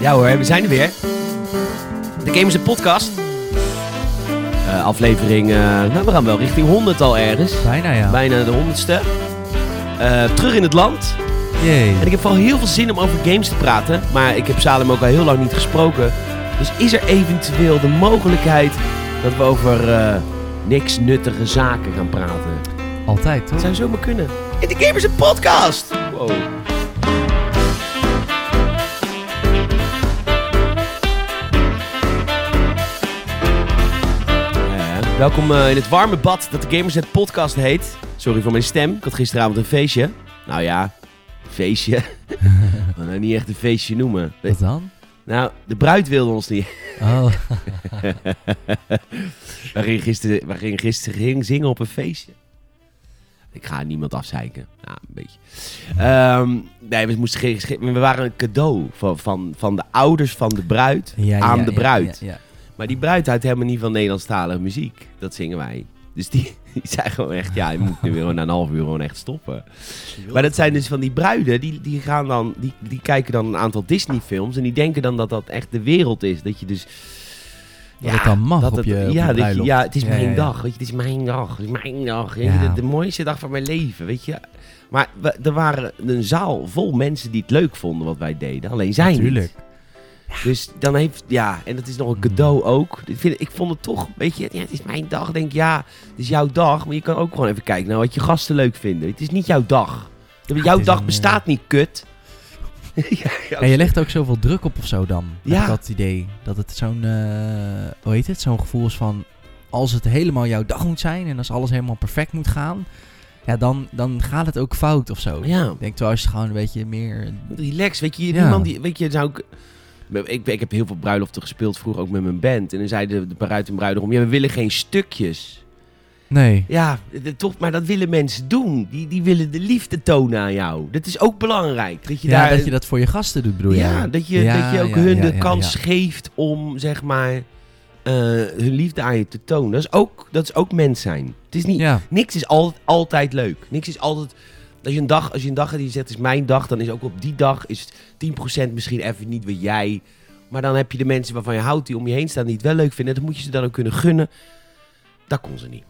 Ja hoor, we zijn er weer. De Gamers en Podcast. Eh, aflevering, eh, nou we gaan wel richting 100 al ergens. Bijna ja. Bijna de 100ste. Eh, terug in het land. Jee. En ik heb vooral heel veel zin om over games te praten. Maar ik heb Salem ook al heel lang niet gesproken. Dus is er eventueel de mogelijkheid dat we over eh, niks nuttige zaken gaan praten? Altijd Dat toch? zou zomaar kunnen. In de Gamers en Podcast! Wow. Eh, Welkom eh, in het warme bad dat de Gamers Net Podcast heet. Sorry voor mijn stem. Ik had gisteravond een feestje. Nou ja, feestje. Ik kan het niet echt een feestje noemen. Wat dan? Nou, de bruid wilde ons niet. Oh, We gingen gisteren, we gingen gisteren ging zingen op een feestje. Ik ga niemand afzeiken. Ja, een beetje. Ehm, nee, we, moesten, geen gesche- we waren een cadeau van, van, van de ouders van de bruid ja, aan ja, de ja, bruid. Ja, ja. Maar die bruid houdt helemaal niet van Nederlandstalige muziek. Dat zingen wij. Dus die, die zijn gewoon echt... Ja, je moet nu weer na een half uur gewoon echt stoppen. Maar dat zijn dus van die bruiden, die, die, gaan dan, die, die kijken dan een aantal Disney-films... en die denken dan dat dat echt de wereld is. Dat je dus... Dat het dan mag op je- op je ja, dat bruiloft. ja, het is Ja, mijn ja, ja. dag, weet je, het is mijn dag, het is mijn dag. weet je, Ja. de, de mooiste dag van mijn leven, weet je. Maar we- er waren een zaal vol mensen die het leuk vonden wat wij deden. Alleen zij niet. Natuurlijk. Dus dan heeft, ja, en dat is nog een cadeau ook. Ik, vind, ik vond het toch, weet je, ja, het is mijn dag. Ik denk, ja, het is jouw dag, maar je kan ook gewoon even kijken naar wat je gasten leuk vinden. Het is niet jouw dag. Jouw is dag een, bestaat niet, kut. ja, ja, En je legt ook zoveel druk op of zo dan. Ja. Ja. Heb ik dat idee. Dat het zo'n, eh, hoe heet het? Zo'n gevoel is van, als het helemaal jouw dag moet zijn en als alles helemaal perfect moet gaan, ja, dan, dan gaat het ook fout of zo. ja. Ik denk wel als je het gewoon een beetje meer... Relax, weet je, Ja. niemand die, weet je, zou ik, ik, ik heb heel veel bruiloften gespeeld vroeger, ook met mijn band. En dan zeiden de bruid en bruidegom, ja, we willen geen stukjes. Nee. Ja, de- toch, maar dat willen mensen doen. Die, die willen de liefde tonen aan jou. Dat is ook belangrijk. Dat je Ja, daar, dat je dat voor je gasten doet, bedoel jij? ja, dat je, Ja, dat je ook ja, hun ja, de ja, kans ja. geeft om, zeg maar, eh, hun liefde aan je te tonen. Dat is ook, dat is ook mens zijn. Het is niet, Ja. niks is altijd, altijd leuk. Niks is altijd, als je een dag, als je een dag hebt die je zegt, het is mijn dag, dan is ook op die dag is het 10% misschien even niet wat jij. Maar dan heb je de mensen waarvan je houdt, die om je heen staan, die het wel leuk vinden. Dat moet je ze dan ook kunnen gunnen. Dat kon ze niet.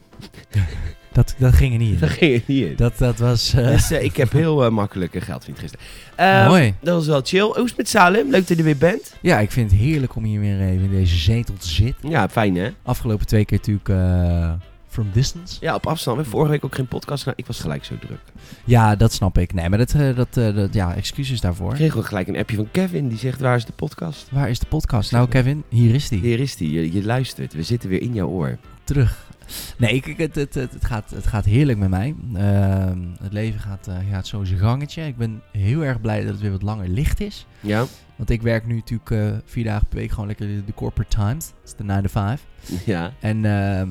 Dat, dat ging er niet Dat in. ging het niet in. Dat, dat was... eh, Dus eh, ik heb heel eh, makkelijk eh, geld verdiend gisteren. Eh, Mooi. Dat was wel chill. Hoe is het met Salem? Leuk dat je er weer bent. Ja, ik vind het heerlijk om hier weer even in deze zetel te zitten. Ja, fijn hè? Afgelopen twee keer natuurlijk eh, From Distance. Ja, op afstand. We hebben vorige week ook geen podcast gedaan. Ik was gelijk zo druk. Ja, dat snap ik. Nee, maar dat, eh, dat, eh, dat ja, excuses daarvoor. Ik kreeg ook gelijk een appje van Kevin. Die zegt, waar is de podcast? Waar is de podcast? Nou, Kevin, hier is die. Hier is die. Je, je luistert. We zitten weer in jouw oor. Terug. Nee, ik, ik- het, het, het, het gaat, het gaat heerlijk met mij. Ehm, het leven gaat, eh, gaat zo zijn gangetje. Ik ben heel erg blij dat het weer wat langer licht is. Ja? Want ik werk nu natuurlijk eh, vier dagen per week gewoon lekker de, de corporate times. Dat is de 9 to 5. Ja. En ehm,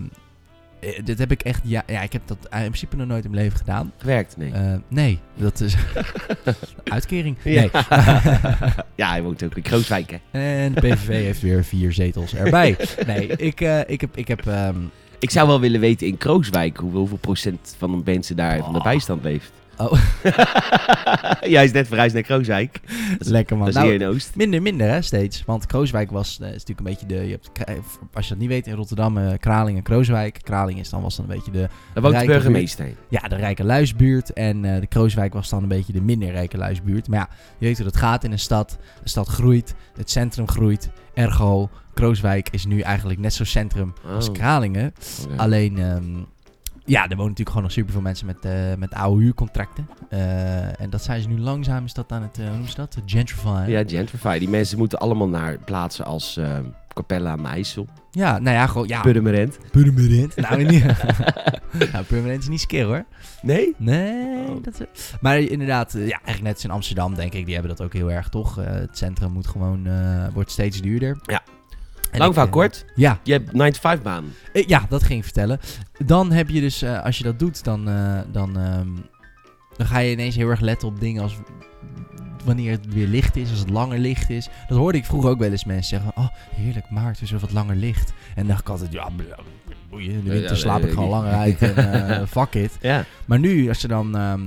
eh, dit heb ik echt... Ja, ja, ik heb dat eh, in principe nog nooit in mijn leven gedaan. Gewerkt? Nee. Eh, nee, dat is... uitkering. Ja. Nee. ja, hij woont ook in Krooswijk hè? En de PVV heeft weer vier zetels erbij. Nee, ik, eh, ik heb... Ik heb ehm, Ik zou wel willen weten in Krooswijk hoe, hoeveel procent van de mensen daar van de Oh. bijstand leeft. Oh. Jij is net verhuisd naar Krooswijk. Dat is- lekker man. Dat is Nou, hier in Oost. minder, minder hè, steeds. Want Krooswijk was eh, is natuurlijk een beetje de... Je hebt, Kra- als je dat niet weet, in Rotterdam, eh, Kraling en Krooswijk. Kraling is dan, was dan een beetje de, Daar woont de Rijke burgemeester. in. ja, de rijke luisbuurt. En eh, de Krooswijk was dan een beetje de minder rijke luisbuurt. Maar ja, je weet hoe dat gaat in een stad. De stad groeit, het centrum groeit. Ergo, Krooswijk is nu eigenlijk net zo centrum als Oh, Kralingen. oké. Alleen, ehm, ja, er wonen natuurlijk gewoon nog superveel mensen met, eh, met oude huurcontracten. Eh, en dat zijn ze nu langzaam, is dat aan het, eh, hoe noemen ze dat? Gentrifying. Ja, gentrify. Die mensen moeten allemaal naar plaatsen als eh, Capella aan de IJssel. Ja, nou ja, gewoon, ja. Purmerend. Permanent. Nou, niet, nou, permanent is niet skill hoor. Nee? Nee, Oh. dat is- Maar inderdaad, eh, ja, eigenlijk net als in Amsterdam, denk ik, die hebben dat ook heel erg, toch? Eh, het centrum moet gewoon, eh, wordt steeds duurder. Ja. En Lang ik, verhaal eh, kort. Ja, Je hebt 9 to 5 baan. eh, ja, dat ging ik vertellen. Dan heb je dus, eh, als je dat doet, dan, eh, dan, ehm, dan ga je ineens heel erg letten op dingen als wanneer het weer licht is, als het langer licht is. Dat hoorde ik vroeger ook wel eens mensen zeggen, oh, heerlijk, maart is weer wat langer licht. En dan dacht ik altijd, ja, boeien, in de Ja, winter dat slaap weet ik gewoon ik. langer uit en eh, fuck it. Ja. Maar nu, als je dan ehm,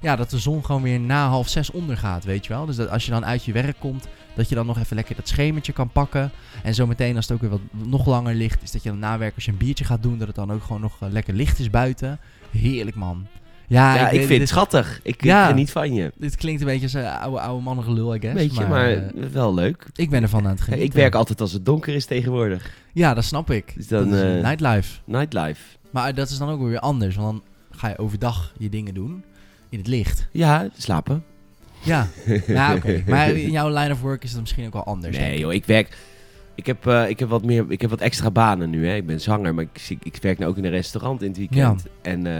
ja, dat de zon gewoon weer na half zes ondergaat, weet je wel. Dus dat als je dan uit je werk komt, dat je dan nog even lekker dat schemertje kan pakken. En zometeen als het ook weer wat nog langer licht is, dat je dan nawerkt als je een biertje gaat doen, dat het dan ook gewoon nog eh, lekker licht is buiten. Heerlijk, man. Ja, Ja, ik, Ah, weet- vind het dit, schattig. Ik, Ja. ik geniet van je. dit klinkt een beetje als eh, oude, oude mannen gelul, I guess. Weet je, maar, eh, wel leuk. ik ben ervan aan het Kijk, genieten. ik werk altijd als het donker is tegenwoordig. Ja, dat snap ik. Dus dan, dat is eh, nightlife. Nightlife. Maar eh, dat is dan ook weer anders, want dan ga je overdag je dingen doen in het licht. Ja, slapen. Ja, ja Nou, oké. Maar eh, in jouw line of work is dat misschien ook wel anders. denk Nee ik. joh, ik werk... Ik heb, eh, ik heb, wat, meer, ik heb wat extra banen nu. Hè. Ik ben zanger, maar ik, zie- ik werk nu ook in een restaurant in het weekend. En eh,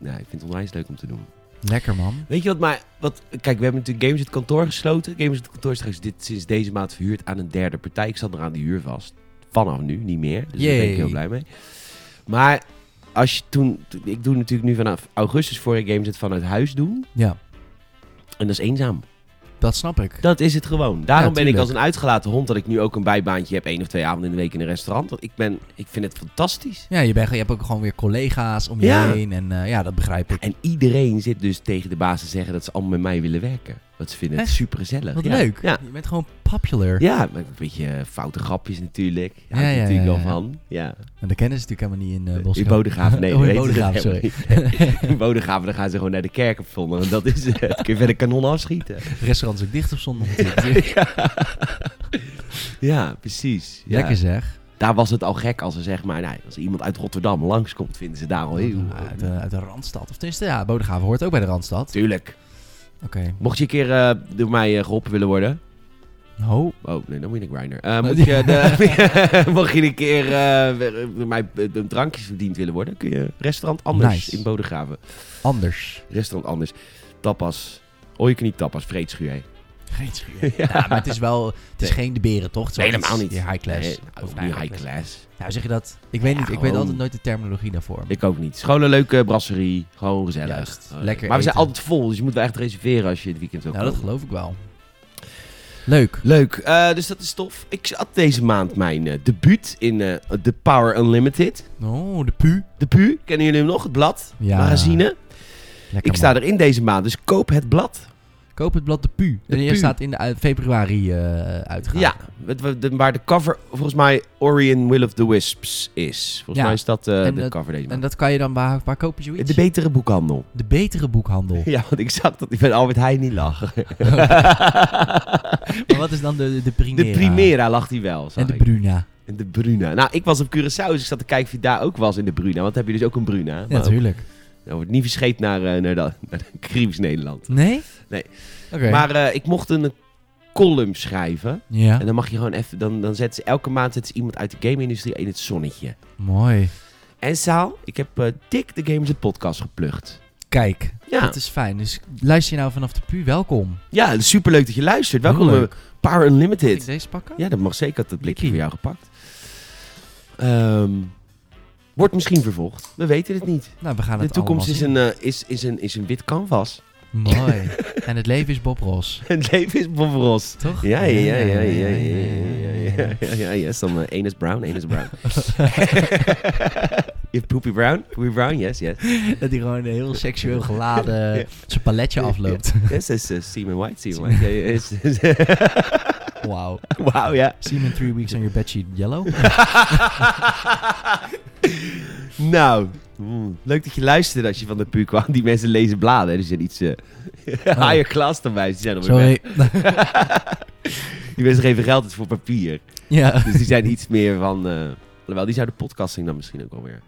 nou, ik vind het onwijs leuk om te doen. Lekker man. Weet je wat, maar... Wat, kijk, we hebben natuurlijk Games het kantoor gesloten. Games het kantoor is trouwens dit, sinds deze maand verhuurd aan een derde partij. Ik zat nog aan die huur vast. Vanaf nu, niet meer. Dus daar ben Yay. ik heel blij mee. Maar als je toen... toen- Ik doe natuurlijk nu vanaf augustus voor Games het vanuit huis doen. Ja, En dat is eenzaam. dat snap ik. Dat is het gewoon. Daarom Ja, ben ik tuurlijk. als een uitgelaten hond dat ik nu ook een bijbaantje heb. één of twee avonden in de week in een restaurant. Want ik, ben, ik vind het fantastisch. Ja, je, bent, je hebt ook gewoon weer collega's om je Ja. heen en eh, ja, dat begrijp ik. En iedereen zit dus tegen de baas te zeggen dat ze allemaal met mij willen werken. Want ze vinden het Echt? super gezellig. Wat ja. leuk. Ja. Je bent gewoon popular. Ja, maar een beetje eh, foute grapjes natuurlijk. Daar Ja, Hou ik ja, natuurlijk ja, wel ja. van. Ja. En dat kennen ze natuurlijk helemaal niet in eh In Boschel. Bodegraven, nee. Oh, in dat weten ze Bodegraven, helemaal niet. in Bodegraven, dan gaan ze gewoon naar de kerk op zondag. En dat is het. Dan kun je verder kanon afschieten. Restaurant is ook dicht op zondag. natuurlijk. ja. Ja, precies. Ja. Lekker zeg. Daar was het al gek als ze zeg maar, nou, als iemand uit Rotterdam langskomt, vinden ze daar al heel... eh, eh, Uit, de- uit de Randstad. Of tenminste, ja, Bodegraven hoort ook bij de Randstad. Tuurlijk. Oké. Mocht je een keer eh, door mij eh, geholpen willen worden... Ho. Oh, nee, dan moet je naar Grindr. Eh, Oh. moet je de, mocht je een keer eh, weer- door mij eh, een drankjes verdiend willen worden, kun je restaurant anders Nice. in Bodegraven. Anders. Restaurant anders. Tapas. Oh, je kan niet tapas, vreedschuur. hè? Geen schuur. Ja, maar het is wel... Het is Nee. geen de beren, toch? Het is wel Nee, helemaal iets- niet. Ja, high class. Nee, Of ook nou, niet high class. Nou, zeg je dat? Ik weet Ja, niet. Ik weet gewoon- altijd nooit de terminologie daarvoor. Ik ook niet. Het is gewoon een leuke brasserie. Gewoon gezellig. Juist. Oh, Lekker Maar we zijn eten. altijd vol, dus je moet wel echt reserveren als je het weekend wil Nou, dat komen. geloof ik wel. Leuk. Leuk, Eh, dus dat is tof. Ik had deze maand mijn eh, debuut in eh, The Power Unlimited. Oh, de pu. De PU, kennen jullie hem nog? Het blad, Ja. magazine. Lekker ik sta erin deze maand, dus koop het blad. man. Koop het blad de pu. De En je Pu. staat in de uit- februari eh uitgegaan. Ja, het- wa- de- waar de cover volgens mij Orion Will of the Wisps is. Volgens Ja. mij is dat eh, En de dat- cover deze En maand. dat kan je dan waar, waar koop je zoiets? De betere boekhandel. de betere boekhandel. Ja, want ik zag dat ik bij Albert Heijn niet lag. maar wat is dan de, de primera? De Primera lag hij wel, zag En de ik. Bruna. En de Bruna. Nou, ik was op Curaçao, dus ik zat te kijken of hij daar ook was in de Bruna. Want dan heb je dus ook een Bruna. Maar Ja, natuurlijk. Dan wordt niet verscheept naar, eh, naar, dat- naar Caribisch Nederland. Nee? Nee. Oké. Maar eh, ik mocht een column schrijven. Ja, En dan mag je gewoon even... Dan, dan zetten ze elke maand zetten ze iemand uit de game-industrie in het zonnetje. mooi. En Saal, ik heb eh, dik de Gamers het podcast geplukt. Kijk, Ja, dat is fijn. Dus luister je nou vanaf de pu, welkom. ja het is superleuk dat je luistert. Welkom Heel bij leuk. Power Mag ik Unlimited. deze pakken? Ja, dat mag zeker. Ik had dat blikje voor Jippie. jou gepakt. Ehm, wordt misschien vervolgd. We weten het niet. Nou, we gaan De het toekomst allemaal is een, eh, is, is, een, is een wit canvas. zien. Mooi. en het leven is Bob Ross, Het leven is Bob Ross. toch? Ja, ja, ja, ja, ja, ja, ja, ja, ja, ja, yes, dan eh, anus brown, anus brown. Je hebt poepy brown, poepy brown, yes, yes. Dat hij gewoon heel seksueel geladen Ja. zijn paletje afloopt. Yes, is eh, semen white, semen white. Ja, ja, yes, yes. Wauw. Wauw, ja. See you in three weeks on your bedsheet yellow. Nou, mm, leuk dat je luisterde als je van de puur kwam. Die mensen lezen bladen, dus er zijn iets eh, higher class dan wij. Ze zijn alweer weg. Sorry. Die mensen geven geld uit voor papier. ja. Dus die zijn iets meer van... eh Alhoewel, die zouden podcasting dan misschien ook alweer.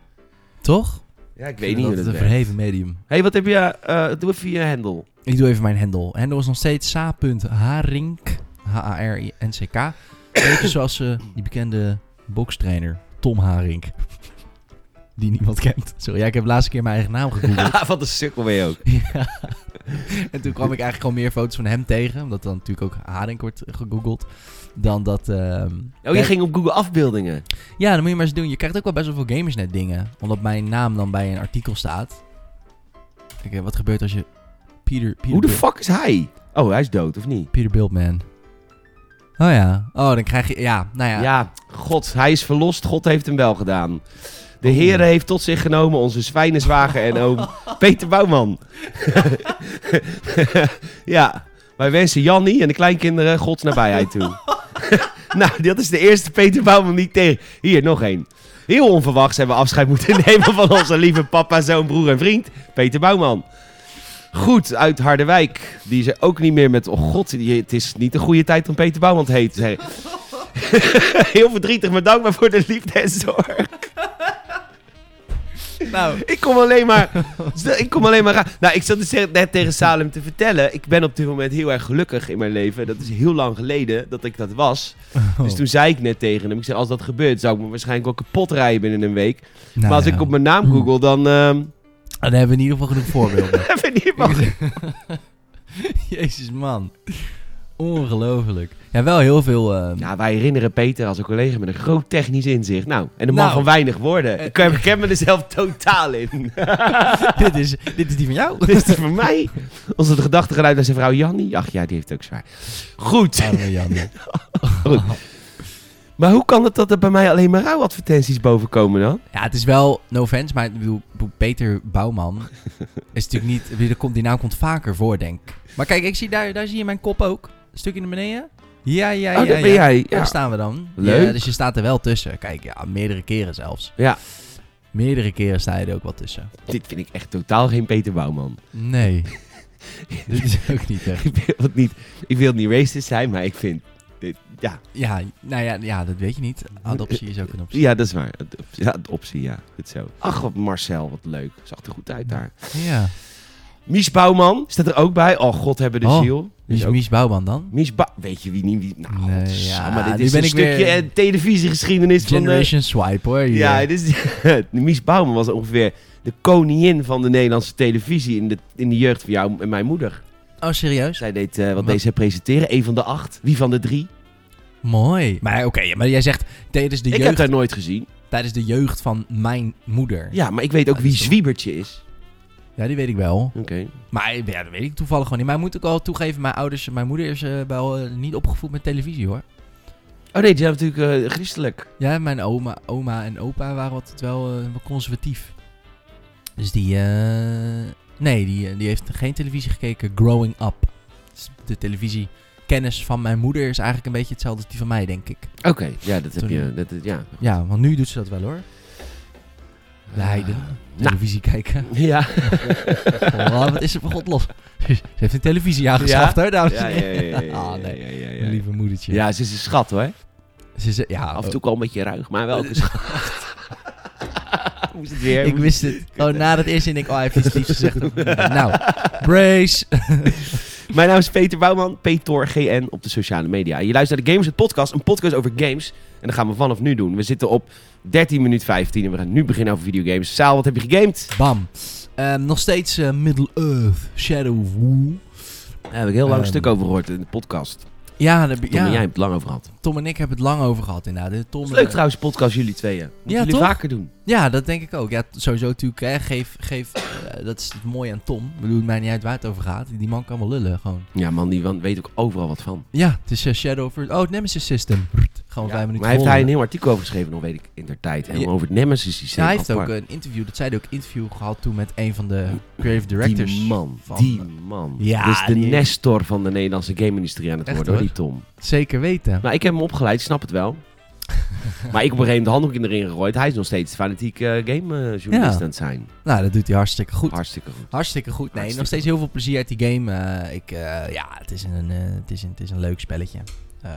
Toch? Ja, ik vind weet niet hoe dat dat het een werkt. verheven medium. hey, wat heb je... eh doe even je handle. Ik doe even mijn hendel. Hendel is nog steeds sa.harink. H-A-R-I-N-C-K. Beetje zoals eh, die bekende bokstrainer Tom Harink. Die niemand kent. Sorry, ja, ik heb de laatste keer mijn eigen naam gegoogeld. Wat een sukkel ben je ook. Ja. en toen kwam ik eigenlijk gewoon meer foto's van hem tegen. Omdat dan natuurlijk ook Haring wordt gegoogeld. Dan dat... ehm, Oh, je kijk- ging op Google afbeeldingen. Ja, dan moet je maar eens doen. Je krijgt ook wel best wel veel gamersnet dingen. Omdat mijn naam dan bij een artikel staat. Kijk, eh, wat gebeurt als je... Peter, Peter, Hoe de Bil- fuck is hij? Oh, hij is dood, of niet? Peter Bildman. Oh ja. Oh, dan krijg je... Ja, nou ja. Ja, god, hij is verlost. God heeft hem wel gedaan. De Heer heeft tot zich genomen onze zwijnenzwager en oom Peter Bouwman. ja, wij wensen Jannie en de kleinkinderen Gods nabijheid toe. nou, dat is de eerste Peter Bouwman die ik tegen. Hier, nog één. Heel onverwachts hebben we afscheid moeten nemen van onze lieve papa, zoon, broer en vriend, Peter Bouwman. Goed, uit Harderwijk. Die is er ook niet meer met... Oh god, die, het is niet de goede tijd om Peter Bouwman te heten. Zeg. Heel verdrietig, maar dankbaar voor de liefde en zorg. Nou, Ik kom alleen maar. ik kom alleen maar. ra- Nou, ik zat dus te- net tegen Salem te vertellen. Ik ben op dit moment heel erg gelukkig in mijn leven. Dat is heel lang geleden dat ik dat was. Oh. Dus toen zei ik net tegen hem. Ik zei: Als dat gebeurt, zou ik me waarschijnlijk wel kapot rijden binnen een week. maar als ik op mijn naam google, dan. ehm Oh, nou Dan hebben we in ieder geval genoeg voorbeelden. heb ik niet mag. Jezus, man. Ongelooflijk. Ja, wel heel veel... eh, Ja, Nou, wij herinneren Peter als een collega met een groot technisch inzicht. Nou, en er mag Nou. gewoon weinig worden. Ik ken- ik ken me er zelf totaal in. dit, is, dit is die van jou. Dit is die voor mij. Onze gedachte geluid naar zijn vrouw Jannie. Ach ja, die heeft het ook zwaar. Goed. Arme Jan. Maar hoe kan het dat er bij mij alleen maar rouwadvertenties bovenkomen dan? Ja, het is wel no offense, maar ik bedoel, Peter Bouwman is natuurlijk niet... ik bedoel, komt- Die naam komt vaker voor, denk ik. Maar kijk, ik zie daar, daar zie je mijn kop ook. Een stukje naar beneden. Ja, ja, ja. oh, dat ja. ben jij. Daar Ja. staan we dan. Leuk. Ja, dus je staat er wel tussen. Kijk, ja, meerdere keren zelfs. Ja. Meerdere keren sta je er ook wel tussen. Dit vind ik echt totaal geen Peter Bouwman. Nee. Dit is ook niet echt. Ik wil het niet, ik wil niet racist zijn, maar ik vind... Dit, ja. Ja, nou ja, ja, dat weet je niet. Adoptie is ook een optie. ja, dat is waar. Het- Ja, de optie, ja. Goed zo. Ach, wat Marcel, wat leuk. Zag er goed uit daar. Ja. Mies Bouwman staat er ook bij. Oh, God hebben de Oh, ziel. Wie is ook- Mies Bouwman dan? Mies Bouw... Weet je wie niet... Wie, nou, Nee, godsamme, ja, dit nu is ben een ik weer- stukje eh, televisiegeschiedenis van de... Generation Swipe hoor. hier. Ja, dit is, Mies Bouwman was ongeveer de koningin van de Nederlandse televisie in de, in de jeugd van jou en mijn moeder. Oh, serieus? Zij deed eh, wat Wat? deze presenteren, een van de acht. Wie van de drie? Mooi. Maar oké, maar jij zegt tijdens de, ik heb jeugd, haar nooit gezien. tijdens de jeugd van mijn moeder. Ja, maar ik weet ook Ja, wie dat is toch- Zwiebertje is. Ja, die weet ik wel. Oké. Maar ja, dat weet ik toevallig gewoon niet. Maar ik moet ook al toegeven, mijn ouders, mijn moeder is eh, wel eh, niet opgevoed met televisie hoor. Oh nee, die zijn natuurlijk eh, christelijk. Ja, mijn oma, oma en opa waren altijd wel eh, wat conservatief. Dus die. eh, nee, die, eh, die heeft geen televisie gekeken. Growing up. Dus de televisiekennis van mijn moeder is eigenlijk een beetje hetzelfde als die van mij, denk ik. Oké, ja, dat heb Toen- je. Dat, dat- ja. Ja, want nu doet ze dat wel hoor. Eh, Leiden. Nou. Televisie kijken. Ja. Oh, wat is er voor god los? Ze heeft een televisie aangeschaft hoor, dames en Ja, ja, heren. ja, ja, ja, Ah, nee. ja, ja, Mijn ja, ja. lieve moedertje. Ja, ze is een schat hoor. Ze ze- ja Af en oh. toe wel een beetje ruig, maar wel ook een schat. Moest het weer. Ik wist het. Oh, na dat eerste denk ik, oh, hij heeft iets liefs gezegd. nou, brace. Mijn naam is Peter Bouwman, Peter GN op de sociale media. En je luistert naar de Gamers het Podcast, een podcast over games. En dat gaan we vanaf nu doen. We zitten op 13 minuut 15 en we gaan nu beginnen over videogames. Saal, wat heb je gegamed? Bam. Ehm, nog steeds eh, Middle-earth, Shadow of War. Daar heb ik heel lang Ehm. een stuk over gehoord in de podcast. Ja, daar, Tom en jij ja, hebt het lang over gehad. Tom en ik hebben het lang over gehad inderdaad. Tom, Dat is leuk eh, trouwens, podcast jullie tweeën. Moeten Ja, jullie toch? vaker doen. Ja, dat denk ik ook. Ja, t- sowieso natuurlijk. Hè, geef, geef, eh, dat is het mooie aan Tom. Ik bedoel, het mij niet uit waar het over gaat. Die man kan wel lullen, gewoon. Ja man, die man weet ook overal wat van. Ja, het is eh, Shadow of... Oh, het Nemesis System. Gewoon Ja, vijf maar minuten heeft hij volgen. een heel artikel over geschreven, nog weet ik in der tijd. Helemaal Ja. over het Nemesis systeem. Ja, hij heeft ook eh, apart. een interview, dat zei hij ook, interview gehad toen met een van de creative directors. Die man, van- eh, die man. Ja, dus de die- Nestor van de Nederlandse game-industrie aan het Echt, worden, hoor, hoor. die Tom. Zeker weten. Nou, ik heb hem opgeleid, ik snap het wel. maar ik heb op een gegeven moment de handdoek in de ring gegooid. Hij is nog steeds fanatiek eh, gamejournalist Ja. aan het zijn. Nou, dat doet hij hartstikke goed. Hartstikke goed. Hartstikke goed. Nee, Hartstikke nog steeds heel veel plezier uit die game. Eh, ik, eh, ja, het is een, eh, het, is een, het is een leuk spelletje. Ehm,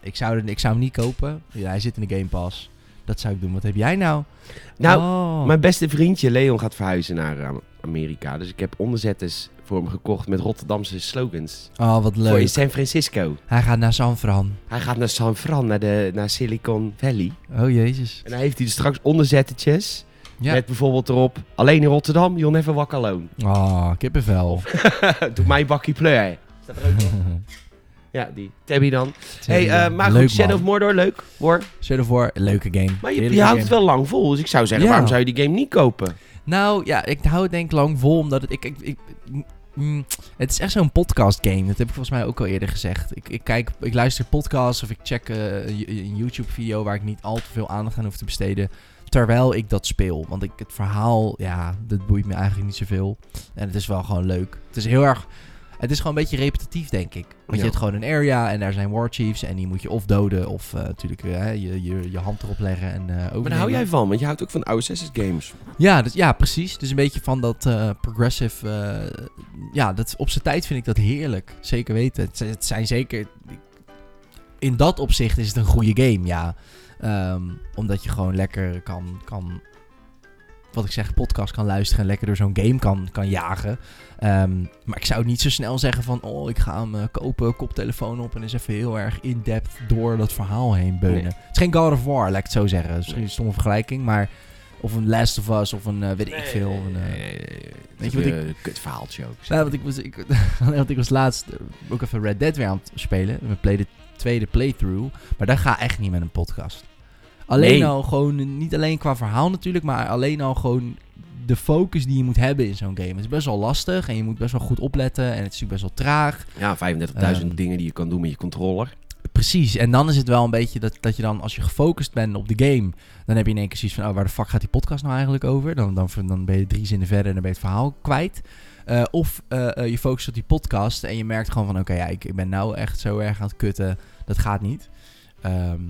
ik, zou er, ik zou hem niet kopen. Ja, hij zit in de Game Pass. Dat zou ik doen. Wat heb jij nou? Nou, Oh. mijn beste vriendje Leon gaat verhuizen naar eh, Amerika. Dus ik heb onderzetters voor hem gekocht met Rotterdamse slogans. oh, wat Voor leuk. in San Francisco. Hij gaat naar San Fran. Hij gaat naar San Fran, naar, de, naar Silicon Valley. Oh, jezus. En dan heeft hij dus straks onderzettetjes. Ja. Met bijvoorbeeld erop, alleen in Rotterdam, you'll never walk alone. Oh, kippenvel. Doe mij bakkie pleur. Staat er ook op. Ja, die Tabby dan. Hey, eh, maar leuk, goed, Shadow of man. Mordor, leuk hoor. Shadow of War, leuke game. Maar je, Heerlijke je houdt game. het wel lang vol, dus ik zou zeggen, Ja. waarom zou je die game niet kopen? Nou ja, ik hou het denk ik lang vol, omdat het, ik, ik, ik, mm, het is echt zo'n podcast game. Dat heb ik volgens mij ook al eerder gezegd. Ik, ik, kijk, ik luister podcasts of ik check eh, een, een YouTube-video waar ik niet al te veel aandacht aan hoef te besteden. Terwijl ik dat speel. Want ik, het verhaal, ja, dat boeit me eigenlijk niet zoveel. En het is wel gewoon leuk. Het is heel erg. Het is gewoon een beetje repetitief, denk ik. Want Ja. je hebt gewoon een area en daar zijn war chiefs. En die moet je of doden of eh, natuurlijk eh, je, je, je hand erop leggen en eh Maar daar hou overnemen. jij van, want je houdt ook van oude Assassin's games. Ja, dus, ja, precies. Dus een beetje van dat eh, progressive. eh, ja, dat, op zijn tijd vind ik dat heerlijk. Zeker weten. Het, zijn- het zijn zeker. In dat opzicht is het een goede game, ja. Ehm, omdat je gewoon lekker kan, kan. Wat ik zeg, podcast kan luisteren en lekker door zo'n game kan, kan jagen. Ehm, maar ik zou niet zo snel zeggen van. Oh, ik ga hem eh, kopen, koptelefoon op en eens even heel erg in-depth door dat verhaal heen beunen. Nee. Het is geen God of War, laat ik het zo zeggen. Misschien Nee. een stomme vergelijking, maar. Of een Last of Us, of een eh, weet ik veel. een, eh, Weet je wat ik... Een kut verhaaltje ook. nou, want ik was, ik, nee, want ik was laatst eh, ook even Red Dead weer aan het spelen. We playden tweede playthrough. Maar dat gaat echt niet met een podcast. Alleen Nee. al gewoon, niet alleen qua verhaal natuurlijk, maar alleen al gewoon de focus die je moet hebben in zo'n game. Het is best wel lastig en je moet best wel goed opletten en het is natuurlijk best wel traag. Ja, 35.000 Ehm. dingen die je kan doen met je controller. Precies, en dan is het wel een beetje dat, dat je dan, als je gefocust bent op de game, dan heb je in één keer zoiets van, oh, waar de fuck gaat die podcast nou eigenlijk over? Dan, dan, dan ben je drie zinnen verder en dan ben je het verhaal kwijt. Eh, of eh, eh, je focust op die podcast en je merkt gewoon van, oké, ja, ik, ik ben nou echt zo erg aan het kutten, dat gaat niet. Ehm,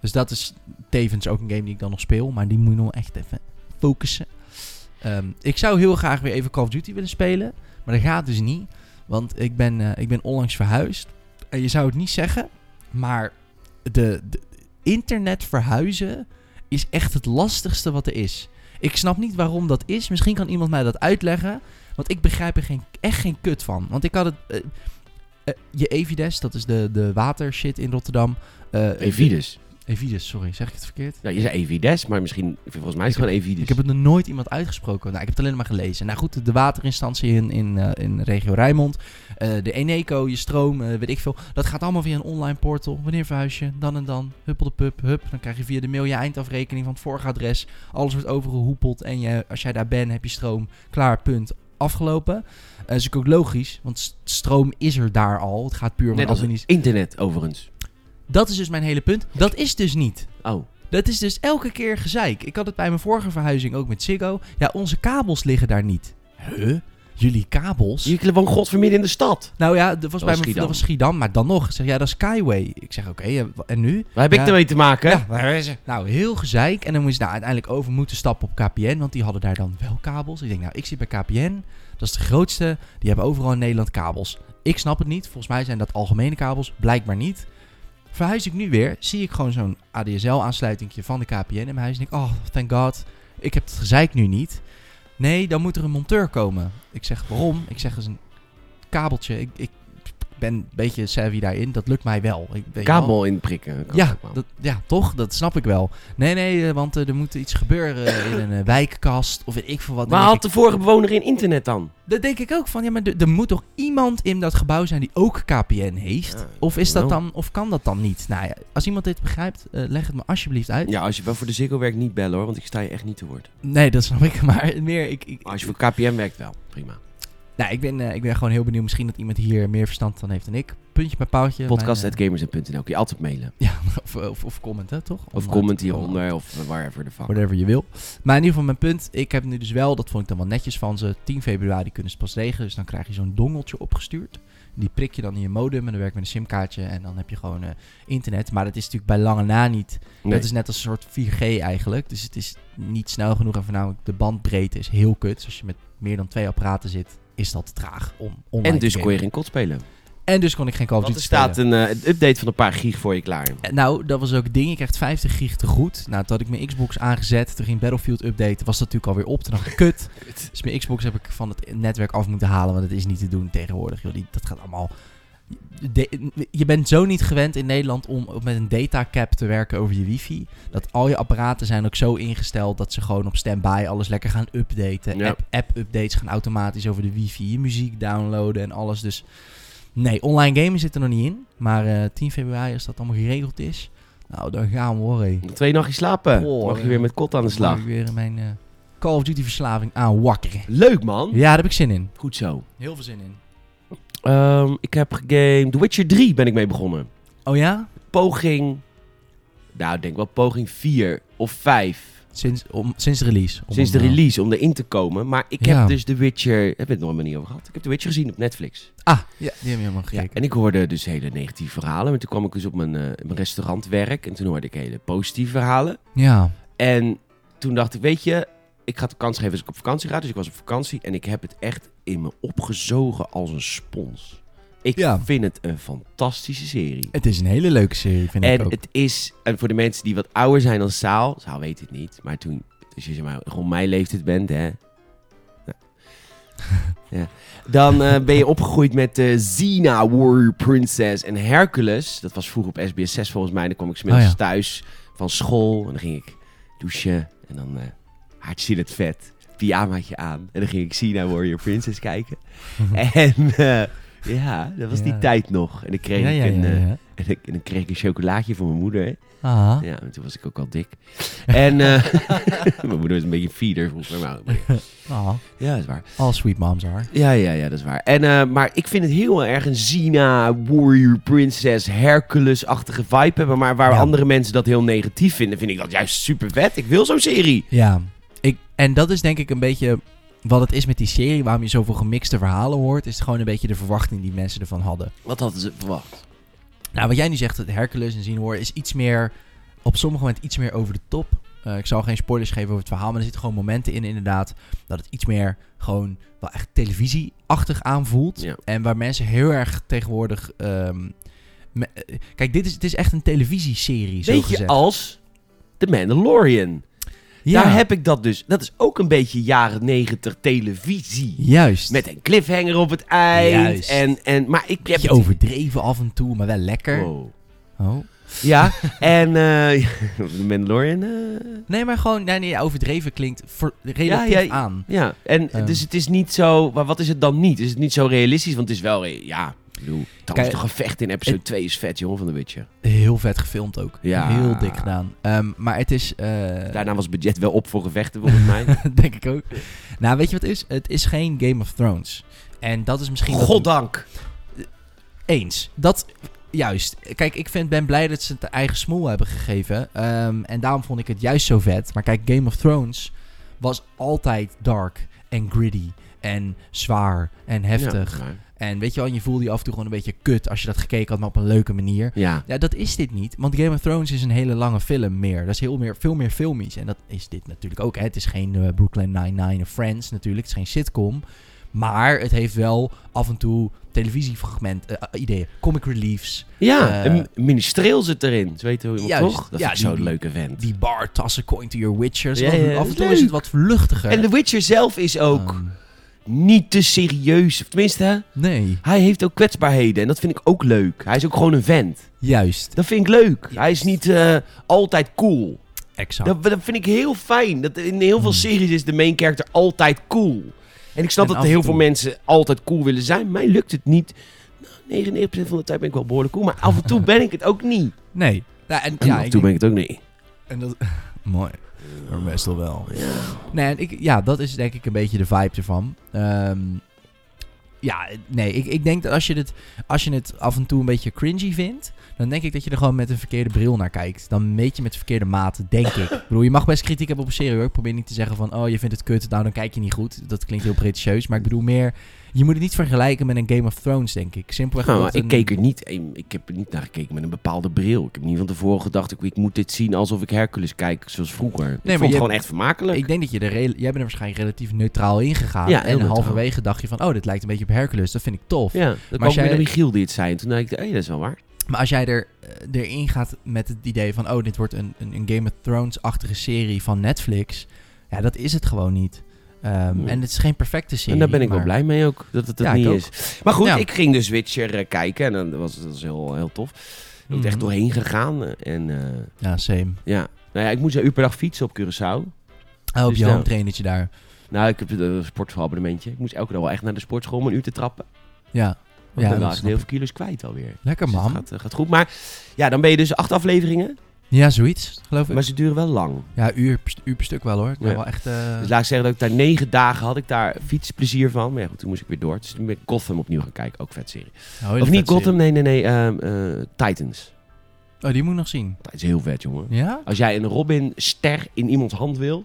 dus dat is tevens ook een game die ik dan nog speel, maar die moet je nog echt even focussen. Ehm, ik zou heel graag weer even Call of Duty willen spelen, maar dat gaat dus niet, want ik ben, eh, ik ben onlangs verhuisd. En je zou het niet zeggen, maar de, de internet verhuizen is echt het lastigste wat er is. Ik snap niet waarom dat is. Misschien kan iemand mij dat uitleggen. Want ik begrijp er geen, echt geen kut van. Want ik had het. eh, eh, je Evides, dat is de, de watershit in Rotterdam. Eh, Evides. Evides, sorry, zeg ik het verkeerd? Ja, je zei Evides, maar misschien... Volgens mij is het gewoon Evides. Ik heb het nog nooit iemand uitgesproken. Nou, ik heb het alleen maar gelezen. Nou goed, de waterinstantie in, in, eh, in regio Rijnmond. eh, de Eneco, je stroom, eh, weet ik veel. Dat gaat allemaal via een online portal. Wanneer verhuis je? Dan en dan. Huppel de pup, hup. Dan krijg je via de mail je eindafrekening van het vorige adres. Alles wordt overgehoepeld. En je, als jij daar bent, heb je stroom. Klaar, punt. Afgelopen. Eh, is natuurlijk ook logisch, want s- stroom is er daar al. Het gaat puur om Net als niet. internet, overigens. Dat is dus mijn hele punt. Dat is dus niet. Oh. Dat is dus elke keer gezeik. Ik had het bij mijn vorige verhuizing ook met Ziggo. Ja, onze kabels liggen daar niet. Huh? Jullie kabels? Je woont godvermidden in de stad. Nou ja, dat was bij was mijn Schiedam. dat was Schiedam, maar dan nog. Ik Zeg, ja, dat is Skyway. Ik zeg, oké, eh, wa- en nu? Waar heb Ja. ik ermee te maken? Ja, waar is het? Nou, heel gezeik. En dan moest je nou uiteindelijk over moeten stappen op KPN, want die hadden daar dan wel kabels. Ik denk, nou, ik zit bij KPN. Dat is de grootste. Die hebben overal in Nederland kabels. Ik snap het niet. Volgens mij zijn dat algemene kabels. Blijkbaar niet. Verhuis ik nu weer, zie ik gewoon zo'n ADSL-aansluitingje van de KPN in mijn huis. En denk, oh, thank god. Ik heb het gezeik nu niet. Nee, dan moet er een monteur komen. Ik zeg, waarom? Ik zeg, dat is een kabeltje. Ik, ik ben een beetje savvy daarin. Dat lukt mij wel. Ik, weet je wel. Kabel inprikken. Kan Ja, ook wel. dat, ja, toch? Dat snap ik wel. Nee, nee, eh, want eh, er moet iets gebeuren eh, in een eh, wijkkast of weet ik veel wat. Dan Waar denk had de vorige bewoner geen internet dan? ik- dat denk ik ook van, ja, maar er er moet toch iemand in dat gebouw zijn die ook KPN heeft? Ja, of is dat wel. dan, of kan dat dan niet? Nou ja, als iemand dit begrijpt, eh, leg het me alsjeblieft uit. Ja, als je wel voor de Ziggo werkt, niet bellen hoor, want ik sta je echt niet te woord. Nee, dat snap ik, maar meer, ik... ik Maar als je voor KPM werkt, wel. Prima. nou, ik ben, eh, ik ben gewoon heel benieuwd. Misschien dat iemand hier meer verstand dan heeft dan ik. Puntje bij paaltje. mijn, eh, Podcast.gamers.nl kun je altijd mailen. of, of, of comment, hè, toch? Of Online. comment hieronder, of wherever de fuck. Oh. Whatever je wil. Maar in ieder geval mijn punt. Ik heb nu dus wel, dat vond ik dan wel netjes van ze. 10 februari kunnen ze het pas regelen. Dus dan krijg je zo'n dongeltje opgestuurd. Die prik je dan in je modem en dan werkt met een simkaartje. En dan heb je gewoon eh, internet. Maar dat is natuurlijk bij lange na niet. Nee. Dat is net als een soort 4G eigenlijk. Dus het is niet snel genoeg. En voornamelijk de bandbreedte is heel kut. Dus als je met meer dan twee apparaten zit, is dat te traag om online En te dus kon je gamen. geen kot spelen. En dus kon ik geen Call of Want Duty er staat spelen. een eh, update van een paar gig voor je klaar. Eh, Nou, dat was ook het ding. Ik kreeg 50 gig te goed. Nou, toen had ik mijn Xbox aangezet. Toen ging Battlefield updaten. Was dat natuurlijk alweer op. Toen dacht ik, kut. Dus mijn Xbox heb ik van het netwerk af moeten halen. Want het is niet te doen tegenwoordig. Joh. Die- dat gaat allemaal... De- je bent zo niet gewend in Nederland om met een datacap te werken over je wifi. Dat al je apparaten zijn ook zo ingesteld dat ze gewoon op standby alles lekker gaan updaten. Ja. App- App-updates gaan automatisch over de wifi. Je muziek downloaden en alles. Dus nee, online gamen zit er nog niet in. Maar eh, 10 februari, als dat allemaal geregeld is, nou dan gaan we hoor. hé. Nog Twee nachtjes slapen. Oh, Mag je ja. weer met kot aan de Dan slag. ben ik weer in mijn eh, Call of Duty verslaving aan wakker. Leuk man. Ja, daar heb ik zin in. Goed zo. Heel veel zin in. Ehm, ik heb gegamed. The Witcher 3 ben ik mee begonnen. Oh ja? Poging. Nou, ik denk wel poging 4 of 5. Sinds, om, sinds release. Om Sinds de hem, eh, release om erin te komen. Maar ik Ja. heb dus The Witcher. Daar hebben we het nog helemaal niet over gehad. Ik heb The Witcher gezien op Netflix. Ah, ja, die heb je helemaal Ja, gekeken. en ik hoorde dus hele negatieve verhalen. Maar toen kwam ik dus op mijn, eh, mijn restaurantwerk. En toen hoorde ik hele positieve verhalen. Ja. En toen dacht ik, weet je, ik ga het de kans geven als ik op vakantie ga. Dus ik was op vakantie en ik heb het echt in me opgezogen als een spons. Ik Ja. vind het een fantastische serie. Het is een hele leuke serie, vind ik En ook. het is, en voor de mensen die wat ouder zijn dan Saal, Saal weet het niet, maar toen, dus als je zeg maar rond mijn leeftijd bent, hè. Nou. ja. Dan eh, ben je opgegroeid met eh Xena, Warrior Princess en Hercules. Dat was vroeger op SBS 6 volgens mij. Dan kwam ik smiddags Oh ja. thuis van school en dan ging ik douchen en dan eh hartje in het vet, pyjamaatje aan. En dan ging ik Xena, Warrior Princess kijken. en eh, ja, dat was die Ja. tijd nog. En ik kreeg ja, ja, ik een... ja, eh, ja. en, ik- en dan kreeg ik een chocolaatje voor mijn moeder. hè. Ah. Ja, en toen was ik ook al dik. En eh, mijn moeder was een beetje een feeder volgens mij. maar- maar- Ah. Ja, dat is waar. All sweet moms are. Ja, ja, ja, dat is waar. En, eh, maar ik vind het heel erg een Xena, Warrior Princess, Hercules-achtige vibe hebben. Maar waar Ja. andere mensen dat heel negatief vinden, vind ik dat juist super vet. Ik wil zo'n serie. Ja, ik, en dat is denk ik een beetje wat het is met die serie, waarom je zoveel gemixte verhalen hoort, is gewoon een beetje de verwachting die mensen ervan hadden. Wat hadden ze verwacht? Nou, wat jij nu zegt, het Hercules en zien hoor, is iets meer, op sommige momenten iets meer over de top. Eh, ik zal geen spoilers geven over het verhaal, maar er zitten gewoon momenten in inderdaad dat het iets meer gewoon wel echt televisieachtig aanvoelt. Ja. En waar mensen heel erg tegenwoordig... ehm, me- eh, kijk, dit is, het is echt een televisieserie, zo Weet je, gezegd. als The Mandalorian. ja, Daar heb ik dat dus. Dat is ook een beetje jaren negentig televisie. Juist. Met een cliffhanger op het eind. Juist. En, en, maar ik heb Beetje het- overdreven af en toe, maar wel lekker. Wow. Oh. Ja, en eh de Mandalorian. eh, Nee, maar gewoon nee, nee, overdreven klinkt voor, relatief Ja, ja, aan. ja, en Ehm. dus het is niet zo. Maar wat is het dan niet? Is het niet zo realistisch? Want het is wel. re- Ja, ik bedoel. Trouwens, Kijk, de gevecht in episode 2 is vet, jongen, van de Witcher. Heel vet gefilmd ook. Ja. Heel dik gedaan. Ehm, maar het is... eh, Daarna was het budget wel op voor gevechten, volgens mij. denk ik ook. Nou, weet je wat het is? Het is geen Game of Thrones. En dat is misschien... wat- Goddank. Eens. Dat... Juist. Kijk, ik vind, ben blij dat ze het eigen smoel hebben gegeven. Ehm, en daarom vond ik het juist zo vet. Maar kijk, Game of Thrones was altijd dark en gritty en zwaar en heftig. Ja, maar- En weet je wel, je voelde je af en toe gewoon een beetje kut als je dat gekeken had, maar op een leuke manier. ja. Ja, dat is dit niet. Want Game of Thrones is een hele lange film meer. Dat is heel meer, veel meer filmisch. En dat is dit natuurlijk ook. Hè. Het is geen eh, Brooklyn Nine-Nine of Friends natuurlijk. Het is geen sitcom. Maar het heeft wel af en toe televisiefragmenten, ideeën, comic reliefs. ja Eh. een ministreel zit erin. Zo heet hoe iemand Juist. toch? Dat Ja, is zo'n die- leuke vent. Die bar, tassen, coin to your witcher. Ja, ja, af en is toe is het leuk. wat luchtiger. En The Witcher zelf is ook Ehm, niet te serieus. Of tenminste, hè, nee, hij heeft ook kwetsbaarheden. En dat vind ik ook leuk. Hij is ook gewoon een vent. juist. Dat vind ik leuk. Hij is niet eh, altijd cool. Exact. Dat, dat vind ik heel fijn. Dat in heel veel Hmm. series is de main character altijd cool. En ik snap En af dat en heel toe. veel mensen altijd cool willen zijn. Mij lukt het niet. Nou, 99% van de tijd ben ik wel behoorlijk cool. Maar af en toe ben ik het ook niet. Nee. Ja, en, En ja, af en ik toe denk- ben ik het ook niet. En dat... Mooi. Maar meestal wel. Nee, en ik, ja, dat is denk ik een beetje de vibe ervan. Ehm, ja, nee, ik, ik denk dat als je, dit, als je het af en toe een beetje cringy vindt... dan denk ik dat je er gewoon met een verkeerde bril naar kijkt. Dan meet je met de verkeerde mate, denk ik. Ik bedoel, je mag best kritiek hebben op een serie hoor. Ik probeer niet te zeggen van, oh, je vindt het kut, nou dan kijk je niet goed. Dat klinkt heel pretentieus, maar ik bedoel meer... je moet het niet vergelijken met een Game of Thrones, denk ik. Simpelweg Nou, omdat maar ik een- keek er niet. Ik heb er niet naar gekeken met een bepaalde bril. Ik heb niet van tevoren gedacht. Ik, ik moet dit zien alsof ik Hercules kijk, zoals vroeger. ik maar vond het je- gewoon echt vermakelijk. Ik denk dat je er rela- jij bent er waarschijnlijk relatief neutraal in gegaan. Ja, heel en neutraal. halverwege dacht je van, oh, dit lijkt een beetje op Hercules. Dat vind ik tof. ja, dan kwam ik jij- met Michiel die het zei. En toen dacht ik, hé, dat is wel waar. Maar als jij er, eh, erin gaat met het idee van, oh, dit wordt een, een, een Game of Thrones-achtige serie van Netflix. Ja, dat is het gewoon niet. Ehm, Nee. En het is geen perfecte serie. En daar ben ik wel maar- blij mee ook, dat het dat Ja, Nou. ik niet ook. is. Maar goed, Ja. ik ging dus Witcher eh, kijken en dan was, dat was heel, heel tof. Ik ben er echt Mhm. doorheen gegaan. eh, En eh, Ja, same. ja, nou ja, ik moest een uur per dag fietsen op Curaçao. Oh, op Dus je nou- home trainertje daar. Nou, ik heb een sportschoolabonnementje. Ik moest elke dag wel echt naar de sportschool om een uur te trappen. Ja. Ja, Ja, ik ben dat wel echt snap heel ik. veel kilo's kwijt alweer. Lekker Dus het man. gaat, eh, gaat goed. Maar ja, dan ben je dus acht afleveringen. Ja, zoiets, geloof ik. Maar ze duren wel lang. Ja, uur, per st- uur per stuk wel hoor. Ik ben Ja. wel echt... eh, Dus laat ik zeggen dat ik daar negen dagen had ik daar fietsplezier van. Maar ja, goed, toen moest ik weer door. Dus toen ben ik Gotham opnieuw gaan kijken. Ook vet serie. oh, hele Of niet vet Gotham, nee, nee, nee. ehm, eh, Titans. serie. Oh, die moet ik nog zien. Dat is heel vet, jongen. Ja? Nou, Als jij een Robin-ster in iemands hand wil...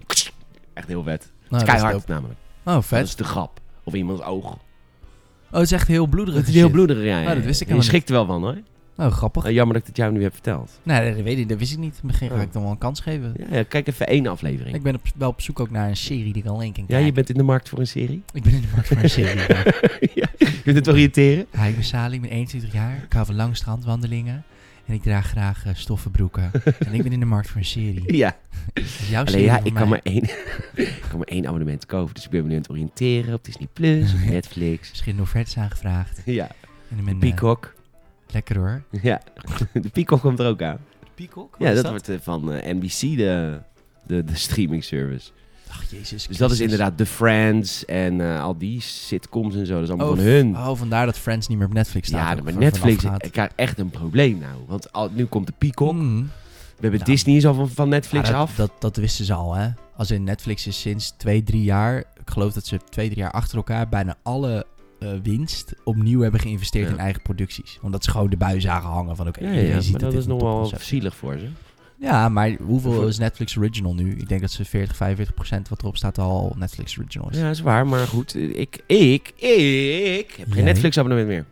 Echt heel vet. Nou, is dat is keihard dope. namelijk. Oh, Dat vet. is de grap. Of iemands oog. Oh, het is echt heel bloederig. Het is en heel shit. Ah, bloederig, ja. ja, dat ja. wist ik Je helemaal schrikt er wel van, hoor. Oh, grappig. Eh, Jammer dat ik dit jou nu heb verteld. Nee, dat weet ik, dat wist ik niet. Misschien ga Oh. ik dan wel een kans geven. Ja, ja, kijk even één aflevering. Ik ben op, wel op zoek ook naar een serie die ik alleen kan Ja, kijken. je bent in de markt voor een serie. Ik ben in de markt voor een serie. ja. ja, je kunt het oriënteren. Hi, ik ben Sali, ik ben 21 jaar. Ik hou van lange strandwandelingen. En ik draag graag eh, stoffen broeken. en ik ben in de markt voor een serie. Ja. Is jouw Alleen Oh, serie ja, voor ik mij? kan, maar één, ik kan maar één abonnement kopen. Dus ik ben me nu aan het oriënteren op Disney Plus, op Netflix. verschillende offertes aangevraagd. Ja, En ik ben, eh, Peacock. lekker hoor. Ja, de Peacock komt er ook aan. Peacock? Ja, dat, wordt eh, van eh, NBC, de, de, de streaming service. Ach, jezus. Dus dat is Christus. inderdaad The Friends en eh, al die sitcoms en zo. Dat is allemaal Oh, van hun. Oh, vandaar dat Friends niet meer op Netflix staat. Ja, ook maar van- vanaf Netflix eh, gaat. krijgt echt een probleem nou. Want al, nu komt de Peacock. Mm. We hebben Nou. Disney is al van, van Netflix Ja, dat, af. Dat, dat wisten ze al, hè? Als in Netflix is sinds twee, drie jaar, ik geloof dat ze twee, drie jaar achter elkaar bijna alle eh, winst opnieuw hebben geïnvesteerd Ja. in eigen producties. Omdat ze gewoon de bui zagen hangen van oké, ja, ja, iedereen ziet maar dat dit is een nog wel topconcept is. zielig voor ze. Ja, maar hoeveel Voor- is Netflix Original nu? Ik denk dat ze 40, 45 procent wat erop staat al Netflix Original is. Ja, is waar. Maar goed, eh, ik, ik, ik heb Jij? geen Netflix abonnement meer.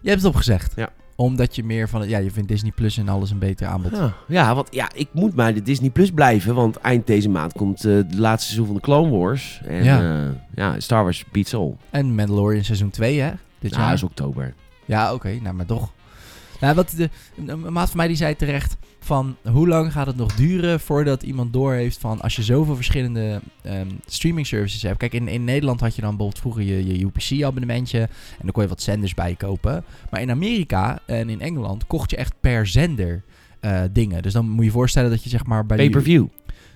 Je hebt het opgezegd. Ja. Omdat je meer van, het- ja, je vindt Disney Plus en alles een beter aanbod. Ja, ja, want ja, ik moet maar de Disney Plus blijven. Want eind deze maand komt eh de laatste seizoen van de Clone Wars. En Ja. ja, ja Star Wars beats all. En Mandalorian seizoen 2, hè? Dit Nou, jaar. dat is oktober. Ja, oké, nou maar toch. Nou, wat de, een- een maat van mij die zei terecht van hoe lang gaat het nog duren voordat iemand doorheeft van als je zoveel verschillende ehm, streaming services hebt. Kijk, in, in Nederland had je dan bijvoorbeeld vroeger je, je UPC abonnementje en dan kon je wat zenders bij kopen. Maar in Amerika en in Engeland kocht je echt per zender eh, dingen. Dus dan moet je je voorstellen dat je zeg maar bij de- Pay-per-view.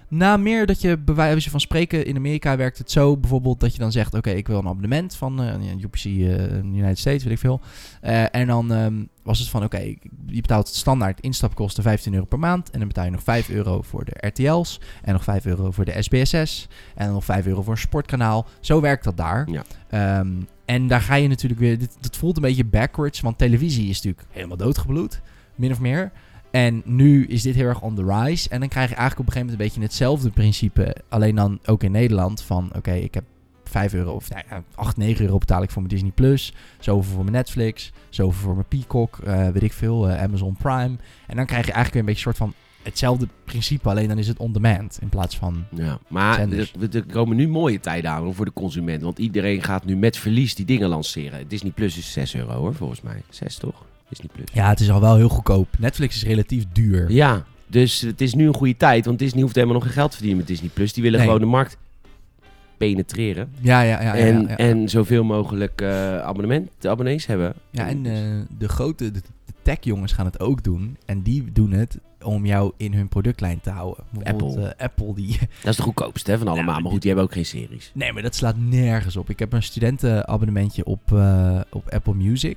na meer dat je bij wijze van spreken in Amerika werkt het zo bijvoorbeeld dat je dan zegt: Oké, ik wil een abonnement van eh, een UPC eh, United States, weet ik veel. Eh, en dan ehm, was het van: Oké, je betaalt standaard instapkosten 15 euro per maand. En dan betaal je nog 5 euro voor de RTL's. En nog 5 euro voor de SBSS. En nog 5 euro voor een sportkanaal. Zo werkt dat daar. Ja. Ehm, en daar ga je natuurlijk weer. Dit, dat voelt een beetje backwards, want televisie is natuurlijk helemaal doodgebloed, min of meer. En nu is dit heel erg on the rise. En dan krijg je eigenlijk op een gegeven moment een beetje hetzelfde principe. Alleen dan ook in Nederland van oké, ik heb 5 euro of nou ja, 8, 9 euro betaal ik voor mijn Disney Plus. Zoveel voor mijn Netflix. Zoveel voor mijn Peacock. eh, weet ik veel. eh, Amazon Prime. En dan krijg je eigenlijk weer een beetje soort van hetzelfde principe. Alleen dan is het on demand. In plaats van. Ja, maar Zenders. er, er komen nu mooie tijden aan hoor, voor de consument. Want iedereen gaat nu met verlies die dingen lanceren. Disney Plus is 6 euro hoor, volgens mij. 6 toch? Disney Plus. Ja, het is al wel heel goedkoop. Netflix is relatief duur. Ja, dus het is nu een goede tijd. Want Disney hoeft helemaal nog geen geld te verdienen met Disney Plus. Die willen Nee. gewoon de markt penetreren. Ja, ja, ja. ja, en, ja, ja. en zoveel mogelijk eh, abonnement, abonnees hebben. Ja, en eh, de grote de, de tech-jongens gaan het ook doen. En die doen het om jou in hun productlijn te houden. Bijvoorbeeld, Apple. eh, Apple, die... Dat is de goedkoopste hè, van allemaal. maar maar goed, die hebben ook geen series. Nee, maar dat slaat nergens op. Ik heb een studentenabonnementje op, eh, op Apple Music.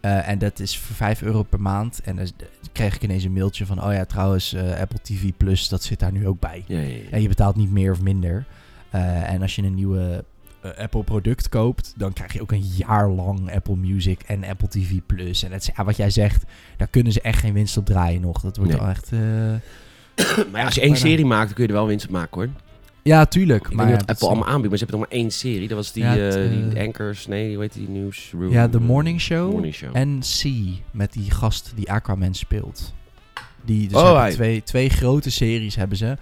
Eh, en dat is voor 5 euro per maand. En dan kreeg ik ineens een mailtje van... Oh ja, trouwens, eh, Apple TV Plus, dat zit daar nu ook bij. Ja, ja, ja. En je betaalt niet meer of minder. Eh, en als je een nieuwe eh, Apple product koopt, dan krijg je ook een jaar lang Apple Music en Apple TV Plus. En het, is- ja, wat jij zegt, daar kunnen ze echt geen winst op draaien nog. Dat wordt Nee. al echt. eh, Maar ja, als je één serie maakt, dan kun je er wel winst op maken hoor. Ja, tuurlijk. Ik maar maar weet niet wat ja, dat Apple is- allemaal aanbiedt, maar ze hebben toch maar één serie. Dat was die, Ja, eh het, die eh, Anchors, nee, hoe heet die? Newsroom. Ja, The Morning Show Morning Show. En C, met die gast die Aquaman speelt. Die, dus Oh, hebben hij. twee, twee grote series hebben ze. En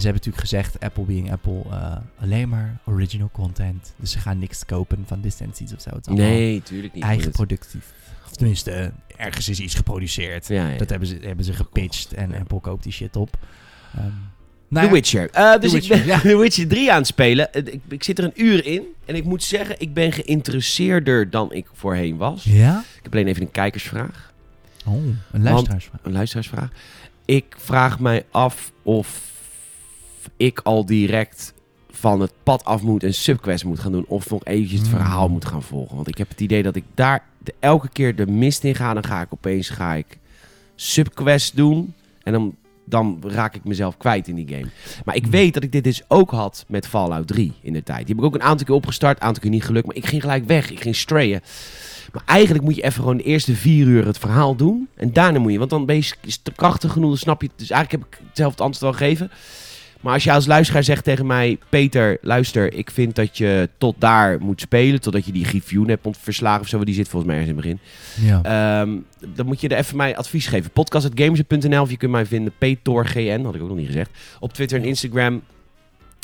ze hebben natuurlijk gezegd, Apple being Apple, eh, alleen maar original content. Dus ze gaan niks kopen van licenties of zo. Het is allemaal- nee, tuurlijk niet. Oh, eigen Maar dat- productief. Of tenminste, eh, ergens is iets geproduceerd. Ja, ja. Dat hebben ze, hebben ze gepitcht en Ja. Apple koopt die shit op. Ehm, The nou ja, Witcher. Eh, dus The Witcher, ik ben The Witcher 3 aan het spelen. Eh, Ik, ik zit er een uur in. En ik moet zeggen, ik ben geïnteresseerder dan ik voorheen was. Ja? Ik heb alleen even een kijkersvraag. Oh, een luisteraarsvraag. Een luisteraarsvraag. Ik vraag mij af of ik al direct van het pad af moet en subquest moet gaan doen. Of nog eventjes het Hmm. verhaal moet gaan volgen. Want ik heb het idee dat ik daar de- elke keer de mist in ga. Dan ga ik opeens ga ik subquest doen. En dan dan raak ik mezelf kwijt in die game. Maar ik weet dat ik dit dus ook had met Fallout 3 in de tijd. Die heb ik ook een aantal keer opgestart, een aantal keer niet gelukt. Maar ik ging gelijk weg, ik ging strayen. Maar eigenlijk moet je even gewoon de eerste vier uur het verhaal doen. En daarna moet je, want dan ben je s- is het krachtig genoeg, dan snap je het. Dus eigenlijk heb ik hetzelfde antwoord al gegeven. Maar als je als luisteraar zegt tegen mij... Peter, luister, ik vind dat je tot daar moet spelen... totdat je die Gifjoen hebt ont- verslagen of zo... want die zit volgens mij ergens in het begin. Ja. Ehm, dan moet je er even mij advies geven. Podcast.gamers.nl of je kunt mij vinden. PetorGN, had ik ook nog niet gezegd. Op Twitter en Instagram.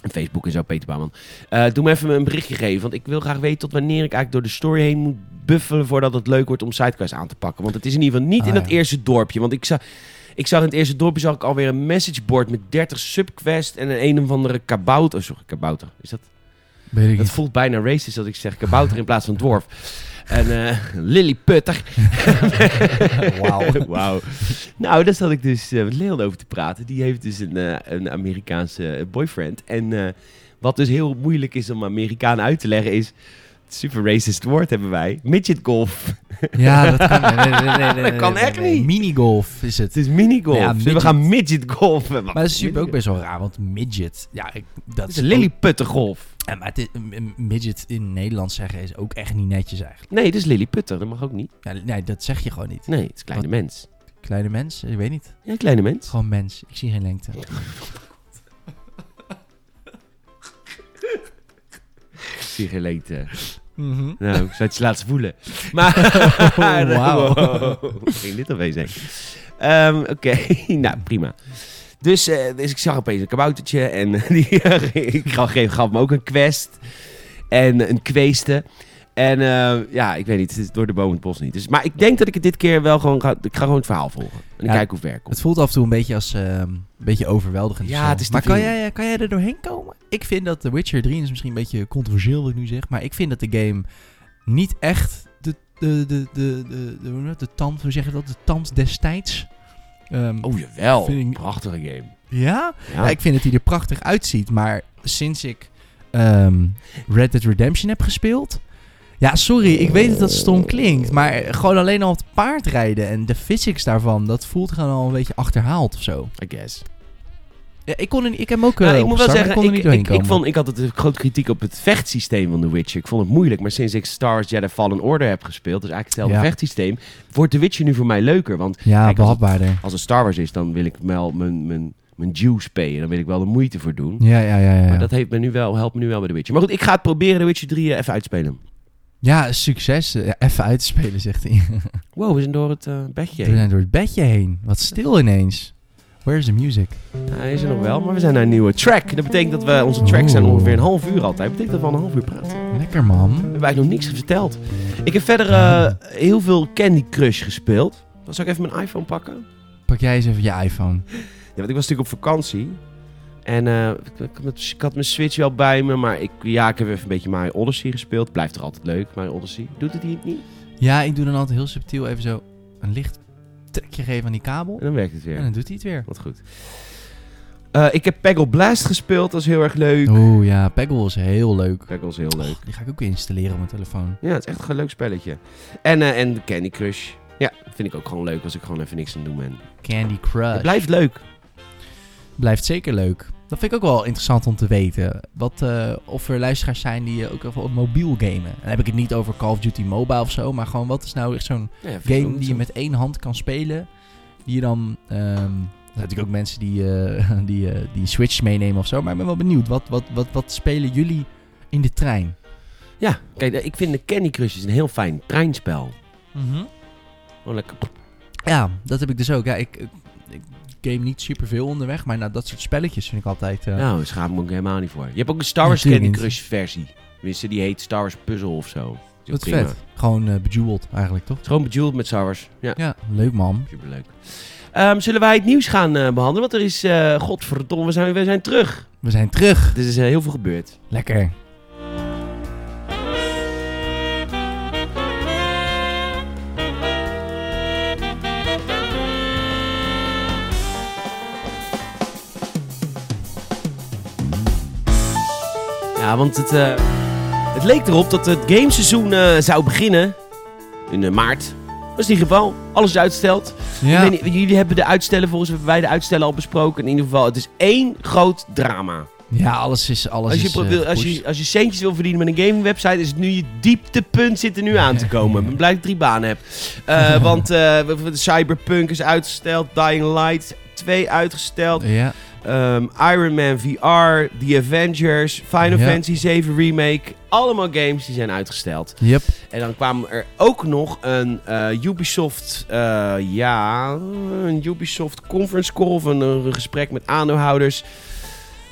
En Facebook en zo, Peter Bouwman. Eh, doe me even een berichtje geven. Want ik wil graag weten tot wanneer ik eigenlijk door de story heen moet buffelen... voordat het leuk wordt om sidequests aan te pakken. Want het is in ieder geval niet Ah, in dat ja. eerste dorpje. Want ik zag, ik zag in het eerste dorpje zag ik alweer een messageboard met 30 subquests... en een een of andere kabouter. oh, sorry, kabouter. Is dat Weet ik dat niet. voelt bijna racist dat ik zeg kabouter in plaats van dwarf. En eh Lilliputter. Wauw. Wauw. Nou, daar zat ik dus eh, met Leon over te praten. Die heeft dus een, eh, een Amerikaanse boyfriend. En eh, wat dus heel moeilijk is om Amerikanen uit te leggen is... het Super racist woord hebben wij. Midget golf. Ja, dat kan, nee, nee, nee, nee, nee, nee, kan nee, echt nee. niet. Minigolf is het. Het is minigolf. Ja, Dus midget. we gaan midget golfen. Maar dat is natuurlijk ook best wel raar, want midget, ja, ik, dat Het is is een lilliputter golf. Ja, maar het is, een- een midget in Nederland zeggen is ook echt niet netjes eigenlijk. Nee, dat is lilliputter. Dat mag ook niet. Ja, nee, dat zeg je gewoon niet. Nee, het is kleine mens. Kleine mens, ik weet niet. Ja, kleine mens. Gewoon mens, ik zie geen lengte. Sigelete. Mhm. Nou, ik zou het je laten voelen. Maar, Wauw. Wow. Wat Oh, ging dit opeens zeggen? Ehm, Oké, nou prima. Dus, eh, dus ik zag opeens een kaboutertje en eh, die ik gaf, gaf me ook een quest. En een kweeste. En eh, ja, ik weet niet, het is door de boom het bos niet. Dus, maar ik denk dat ik het dit keer wel gewoon ga, ik ga gewoon het verhaal volgen. En Ja, ik kijk hoe ver ik kom. Het voelt af en toe een beetje als ehm, een beetje overweldigend. Ja, of zo. het is te maar kan veel. jij, kan jij er doorheen komen? Ik vind dat The Witcher 3 is misschien een beetje controversieel wat ik nu zeg, maar ik vind dat de game niet echt de, de, de, de, de, de, hoe noem je dat? de tand, hoe zeg je dat, de tand destijds. Ehm, Oh jawel, Vind ik- prachtige game. Ja? Ja. Ja, ik vind dat hij er prachtig uitziet. Maar sinds ik ehm, Red Dead Redemption heb gespeeld. Ja, sorry, ik weet dat dat stom klinkt. Maar gewoon alleen al het paardrijden en de physics daarvan. Dat voelt gewoon al een beetje achterhaald of zo. I guess. Ja, ik, kon er, niet- ik heb hem ook. Nou, eh, ik moet wel opgestart, maar zeggen, ik kon er ik, niet doorheen ik, ik, komen. vond, ik had het een groot kritiek op het vechtsysteem van The Witcher. Ik vond het moeilijk, maar sinds ik Star Wars Jedi Fallen Order heb gespeeld, dus eigenlijk hetzelfde Ja. vechtsysteem, wordt The Witcher nu voor mij leuker. Want ja, kijk, als het- behapbaarder. als het Star Wars is, dan wil ik wel mijn, mijn, mijn dues payen. Dan wil ik wel de moeite voor doen. Ja, ja, ja. ja, ja. Hmm? Maar dat heeft me nu wel, helpt me nu wel bij The Witcher. Maar goed, ik ga het proberen The Witcher 3 even uitspelen. ja succes. Eh, even uitspelen, zegt hij. Wow, we zijn door het eh, bedje. We heen. zijn door het bedje heen. Wat stil ineens. Where's the music? Nou, hij is er nog wel, maar we zijn naar een nieuwe track. Dat betekent dat we, onze tracks zijn Oeh. ongeveer een half uur altijd. Dat betekent dat we al een half uur praten. Lekker, man. We hebben eigenlijk nog niks verteld. Ik heb verder eh, heel veel Candy Crush gespeeld. Zal ik even mijn iPhone pakken? Pak jij eens even je iPhone. Ja, want ik was natuurlijk op vakantie. En eh, ik, ik had mijn- ik had mijn Switch wel bij me, maar ik, ja, ik heb even een beetje Mario Odyssey gespeeld. Blijft er altijd leuk, Mario Odyssey. Doet het hier niet? Ja, ik doe dan altijd heel subtiel even zo een licht trekje geven aan die kabel. En dan werkt het weer. En dan doet hij het weer. Wat goed. Eh, ik heb Peggle Blast gespeeld, dat is heel erg leuk. Oeh ja, Peggle is heel leuk. Peggle is heel leuk. Die ga ik ook weer installeren op mijn telefoon. Ja, het is echt een leuk spelletje. En, eh en Candy Crush. Ja, vind ik ook gewoon leuk als ik gewoon even niks aan het doen ben. Candy Crush. Het blijft leuk. Blijft zeker leuk. Dat vind ik ook wel interessant om te weten. Wat, eh, of er luisteraars zijn die eh, ook even op mobiel gamen. En dan heb ik het niet over Call of Duty Mobile of zo. Maar gewoon wat is nou echt zo'n Ja, vind ik ook game niet die zo. je met één hand kan spelen. Die je dan. ehm, er zijn natuurlijk ook mensen die, eh, die, eh, die een Switch meenemen of zo. Maar ik ben wel benieuwd. Wat, wat, wat, wat spelen jullie in de trein? Ja, kijk, eh, ik vind de Candy Crush is een heel fijn treinspel. Gewoon lekker. Ja, dat heb ik dus ook. Ja, ik, ik, ik game niet superveel onderweg. Maar nou, dat soort spelletjes vind ik altijd. eh, Nou, daar schaam ik me ook helemaal niet voor. Je hebt ook een Star Wars Natuurlijk Candy niet. Crush versie. Tenminste, die heet Star Wars Puzzle of zo. Is ook wat prima. vet. Gewoon eh bejeweled eigenlijk, toch? Het is gewoon bejeweled met Star Wars. Ja, Ja, leuk man. superleuk. Ehm, zullen wij het nieuws gaan eh, behandelen? Want er is, eh godverdomme, we zijn, we zijn terug. We zijn terug. Er is eh, heel veel gebeurd. Lekker. Ja, want het, eh, het leek erop dat het gameseizoen eh, zou beginnen in eh, maart. Maar was niet het geval. Alles is uitgesteld. Ja. Ik weet niet, jullie hebben de uitstellen volgens mij hebben wij de uitstellen al besproken. In ieder geval, het is één groot drama. ja, alles is... Alles Als je, is, pro- eh, wil- als, gepusht. je, als je centjes wil verdienen met een gaming website, is het nu je dieptepunt zit er nu aan te komen. Ik ben blij dat ik drie banen heb. Eh, want eh, w- w- Cyberpunk is uitgesteld, Dying Light 2 uitgesteld, Ja, ehm, Iron Man VR, The Avengers, Final Ja. Fantasy 7 Remake. Allemaal games die zijn uitgesteld. yep. En dan kwam er ook nog een eh, Ubisoft, eh, ja, een Ubisoft conference call of een, eh, gesprek met aandeelhouders.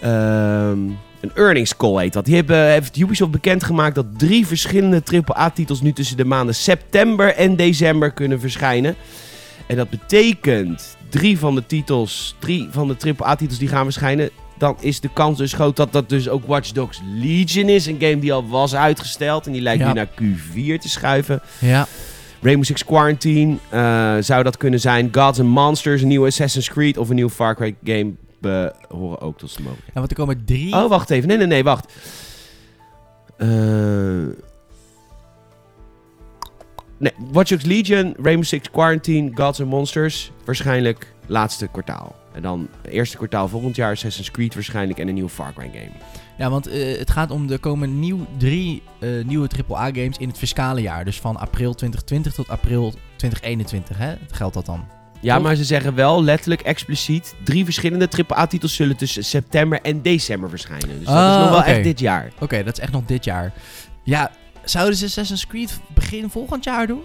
Ehm, een earnings call heet dat. Die hebben, heeft Ubisoft bekendgemaakt dat drie verschillende AAA-titels nu tussen de maanden september en december kunnen verschijnen. En dat betekent drie van de titels, drie van de AAA-titels die gaan verschijnen. Dan is de kans dus groot dat dat dus ook Watch Dogs Legion is. Een game die al was uitgesteld. En die lijkt Ja. nu naar Q4 te schuiven. Ja, Rainbow Six Quarantine eh, zou dat kunnen zijn. Gods and Monsters, een nieuwe Assassin's Creed of een nieuw Far Cry game eh, horen ook tot de mogelijkheid. en want er komen drie... Oh, wacht even. Nee, nee, nee, wacht. Eh, Nee, Watch Dogs Legion, Rainbow Six Quarantine, Gods and Monsters. Waarschijnlijk laatste kwartaal. En dan eerste kwartaal volgend jaar Assassin's Creed waarschijnlijk en een nieuwe Far Cry game. Ja, want eh, het gaat om, er komen nieuw, drie eh, nieuwe AAA-games in het fiscale jaar. Dus van april 2020 tot april 2021, hè? Geldt dat dan? Ja, Toch? maar ze zeggen wel letterlijk expliciet... drie verschillende AAA-titels zullen tussen september en december verschijnen. Dus dat is Ah, nog wel oké. echt dit jaar. Oké, dat is echt nog dit jaar. Ja, zouden ze Assassin's Creed begin volgend jaar doen?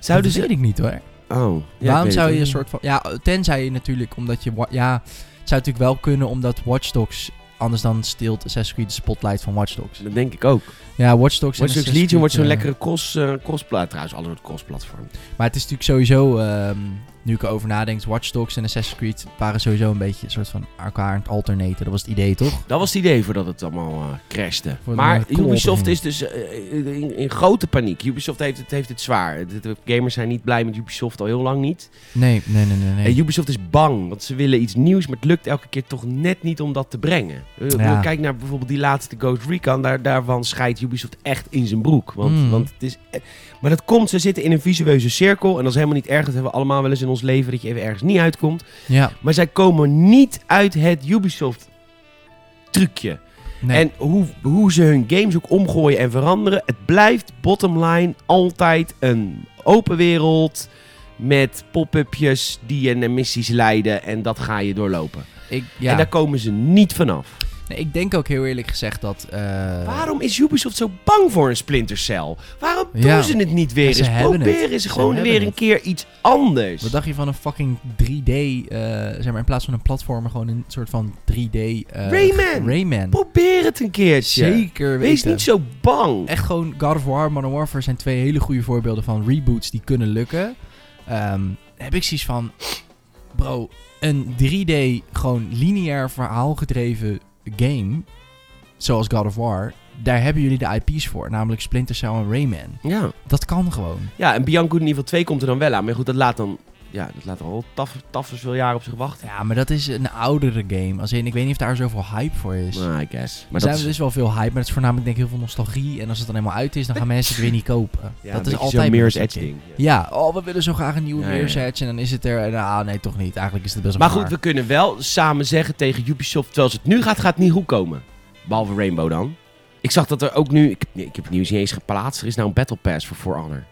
Zouden dat ze... weet ik niet hoor. Oh, ja, ik Waarom weet het zou je een niet. soort van... Ja, tenzij je natuurlijk omdat je... wa- Ja, het zou natuurlijk wel kunnen omdat Watch Dogs... Anders dan steelt Assassin's Creed de spotlight van Watch Dogs. Dat denk ik ook. Ja, Watch Watch Dogs... en Dogs Assassin's Legion Creed, wordt zo'n eh, lekkere cross, eh crosspla- Trouwens, alle soort crossplatform. Maar het is natuurlijk sowieso... ehm, nu ik erover nadenk, Watch Dogs en Assassin's Creed waren sowieso een beetje een soort van elkaar aan het alternaten. Dat was het idee, toch? Dat was het idee voordat het allemaal eh, crashte. Voor de maar co-op Ubisoft erin. is dus eh, in, in grote paniek. Ubisoft heeft het, heeft het zwaar. De, de gamers zijn niet blij met Ubisoft al heel lang niet. Nee, nee, nee, nee. nee. En Ubisoft is bang, want ze willen iets nieuws, maar het lukt elke keer toch net niet om dat te brengen. Eh, Ja. Kijk naar bijvoorbeeld die laatste Ghost Recon, daar, daarvan scheidt Ubisoft echt in zijn broek. Want, Mm. want het is, eh, maar dat komt, ze zitten in een visueuze cirkel en dat is helemaal niet erg. Dat hebben we allemaal wel eens in ons leven, dat je even ergens niet uitkomt. Ja, Maar zij komen niet uit het Ubisoft-trucje. nee. En hoe, hoe ze hun games ook omgooien en veranderen. Het blijft bottom line altijd een open wereld. Met pop-upjes die je naar missies leiden. En dat ga je doorlopen. ik, ja. En daar komen ze niet vanaf. Nee, ik denk ook heel eerlijk gezegd dat... eh, Waarom is Ubisoft zo bang voor een Splinter Cell? Waarom doen Ja. ze het niet weer Ja, ze eens? hebben het. Proberen ze Ze gewoon hebben weer een het. keer iets anders. Wat dacht je van een fucking 3D, eh, zeg maar, in plaats van een platformer, gewoon een soort van 3D... eh, Rayman! Rayman. Probeer het een keertje. Zeker weten. Wees niet zo bang. Echt gewoon God of War, Modern Warfare zijn twee hele goede voorbeelden van reboots die kunnen lukken. Ehm, heb ik zoiets van, bro, een 3D gewoon lineair verhaal gedreven game, zoals God of War, daar hebben jullie de IP's voor, namelijk Splinter Cell en Rayman. Ja. Dat kan gewoon. Ja, en Bianco in ieder geval 2 komt er dan wel aan. Maar goed, dat laat dan... Ja, dat laat al taf, taf veel jaar op zich wachten. Ja, maar dat is een oudere game. Als in, ik weet niet of daar zoveel hype voor is. Nou, I guess. Maar er dat zijn is, dus wel veel hype, maar het is voornamelijk denk ik heel veel nostalgie. En als het dan helemaal uit is, dan gaan mensen het weer niet kopen. ja, een dat is beetje altijd zo'n Mirror's met dat Edge soort ding. Ja. Ja, oh, we willen zo graag een nieuwe Ja, Mirror's ja, Edge. En dan is het er. en, Ah, nee, toch niet. Eigenlijk is het best wel Maar goed, we kunnen wel samen zeggen tegen Ubisoft... terwijl het nu gaat, gaat het niet goed komen. Behalve Rainbow dan. Ik zag dat er ook nu... Ik, nee, ik heb het nieuws niet eens geplaatst. Er is nou een Battle Pass voor For Honor.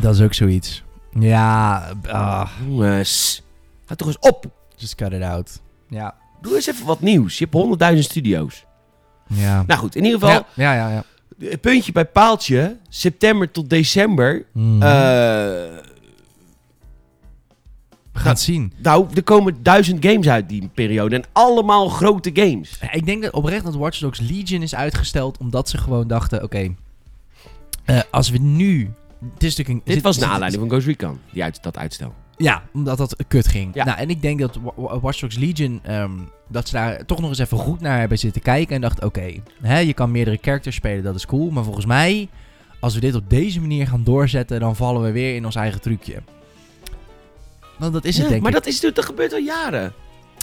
Dat is ook zoiets. Ja, ah, Jongens. Houd toch eens op. just cut it out. Ja. Doe eens even wat nieuws. Je hebt 100.000 studio's. Ja. Nou goed, in ieder geval... ja, ja, ja. ja. eh, Puntje bij paaltje. September tot december. Mhm. Eh... we gaan het zien. Nou, er komen duizend games uit die periode. En allemaal grote games. Ja, Ik denk dat oprecht dat Watch Dogs Legion is uitgesteld omdat ze gewoon dachten, oké, eh, als we nu... Het is natuurlijk een, Dit zit- was naar zit- aanleiding van Ghost Recon, die uit, dat uitstel. Ja, omdat dat kut ging. Ja. Nou, en ik denk dat Wa- Wa- Watch Dogs Legion, ehm, dat ze daar toch nog eens even goed naar hebben zitten kijken. En dacht, oké, hè, je kan meerdere characters spelen, dat is cool. Maar volgens mij, als we dit op deze manier gaan doorzetten, dan vallen we weer in ons eigen trucje. Want dat is het, Ja, denk maar ik. dat, is, natuurlijk- dat gebeurt al jaren.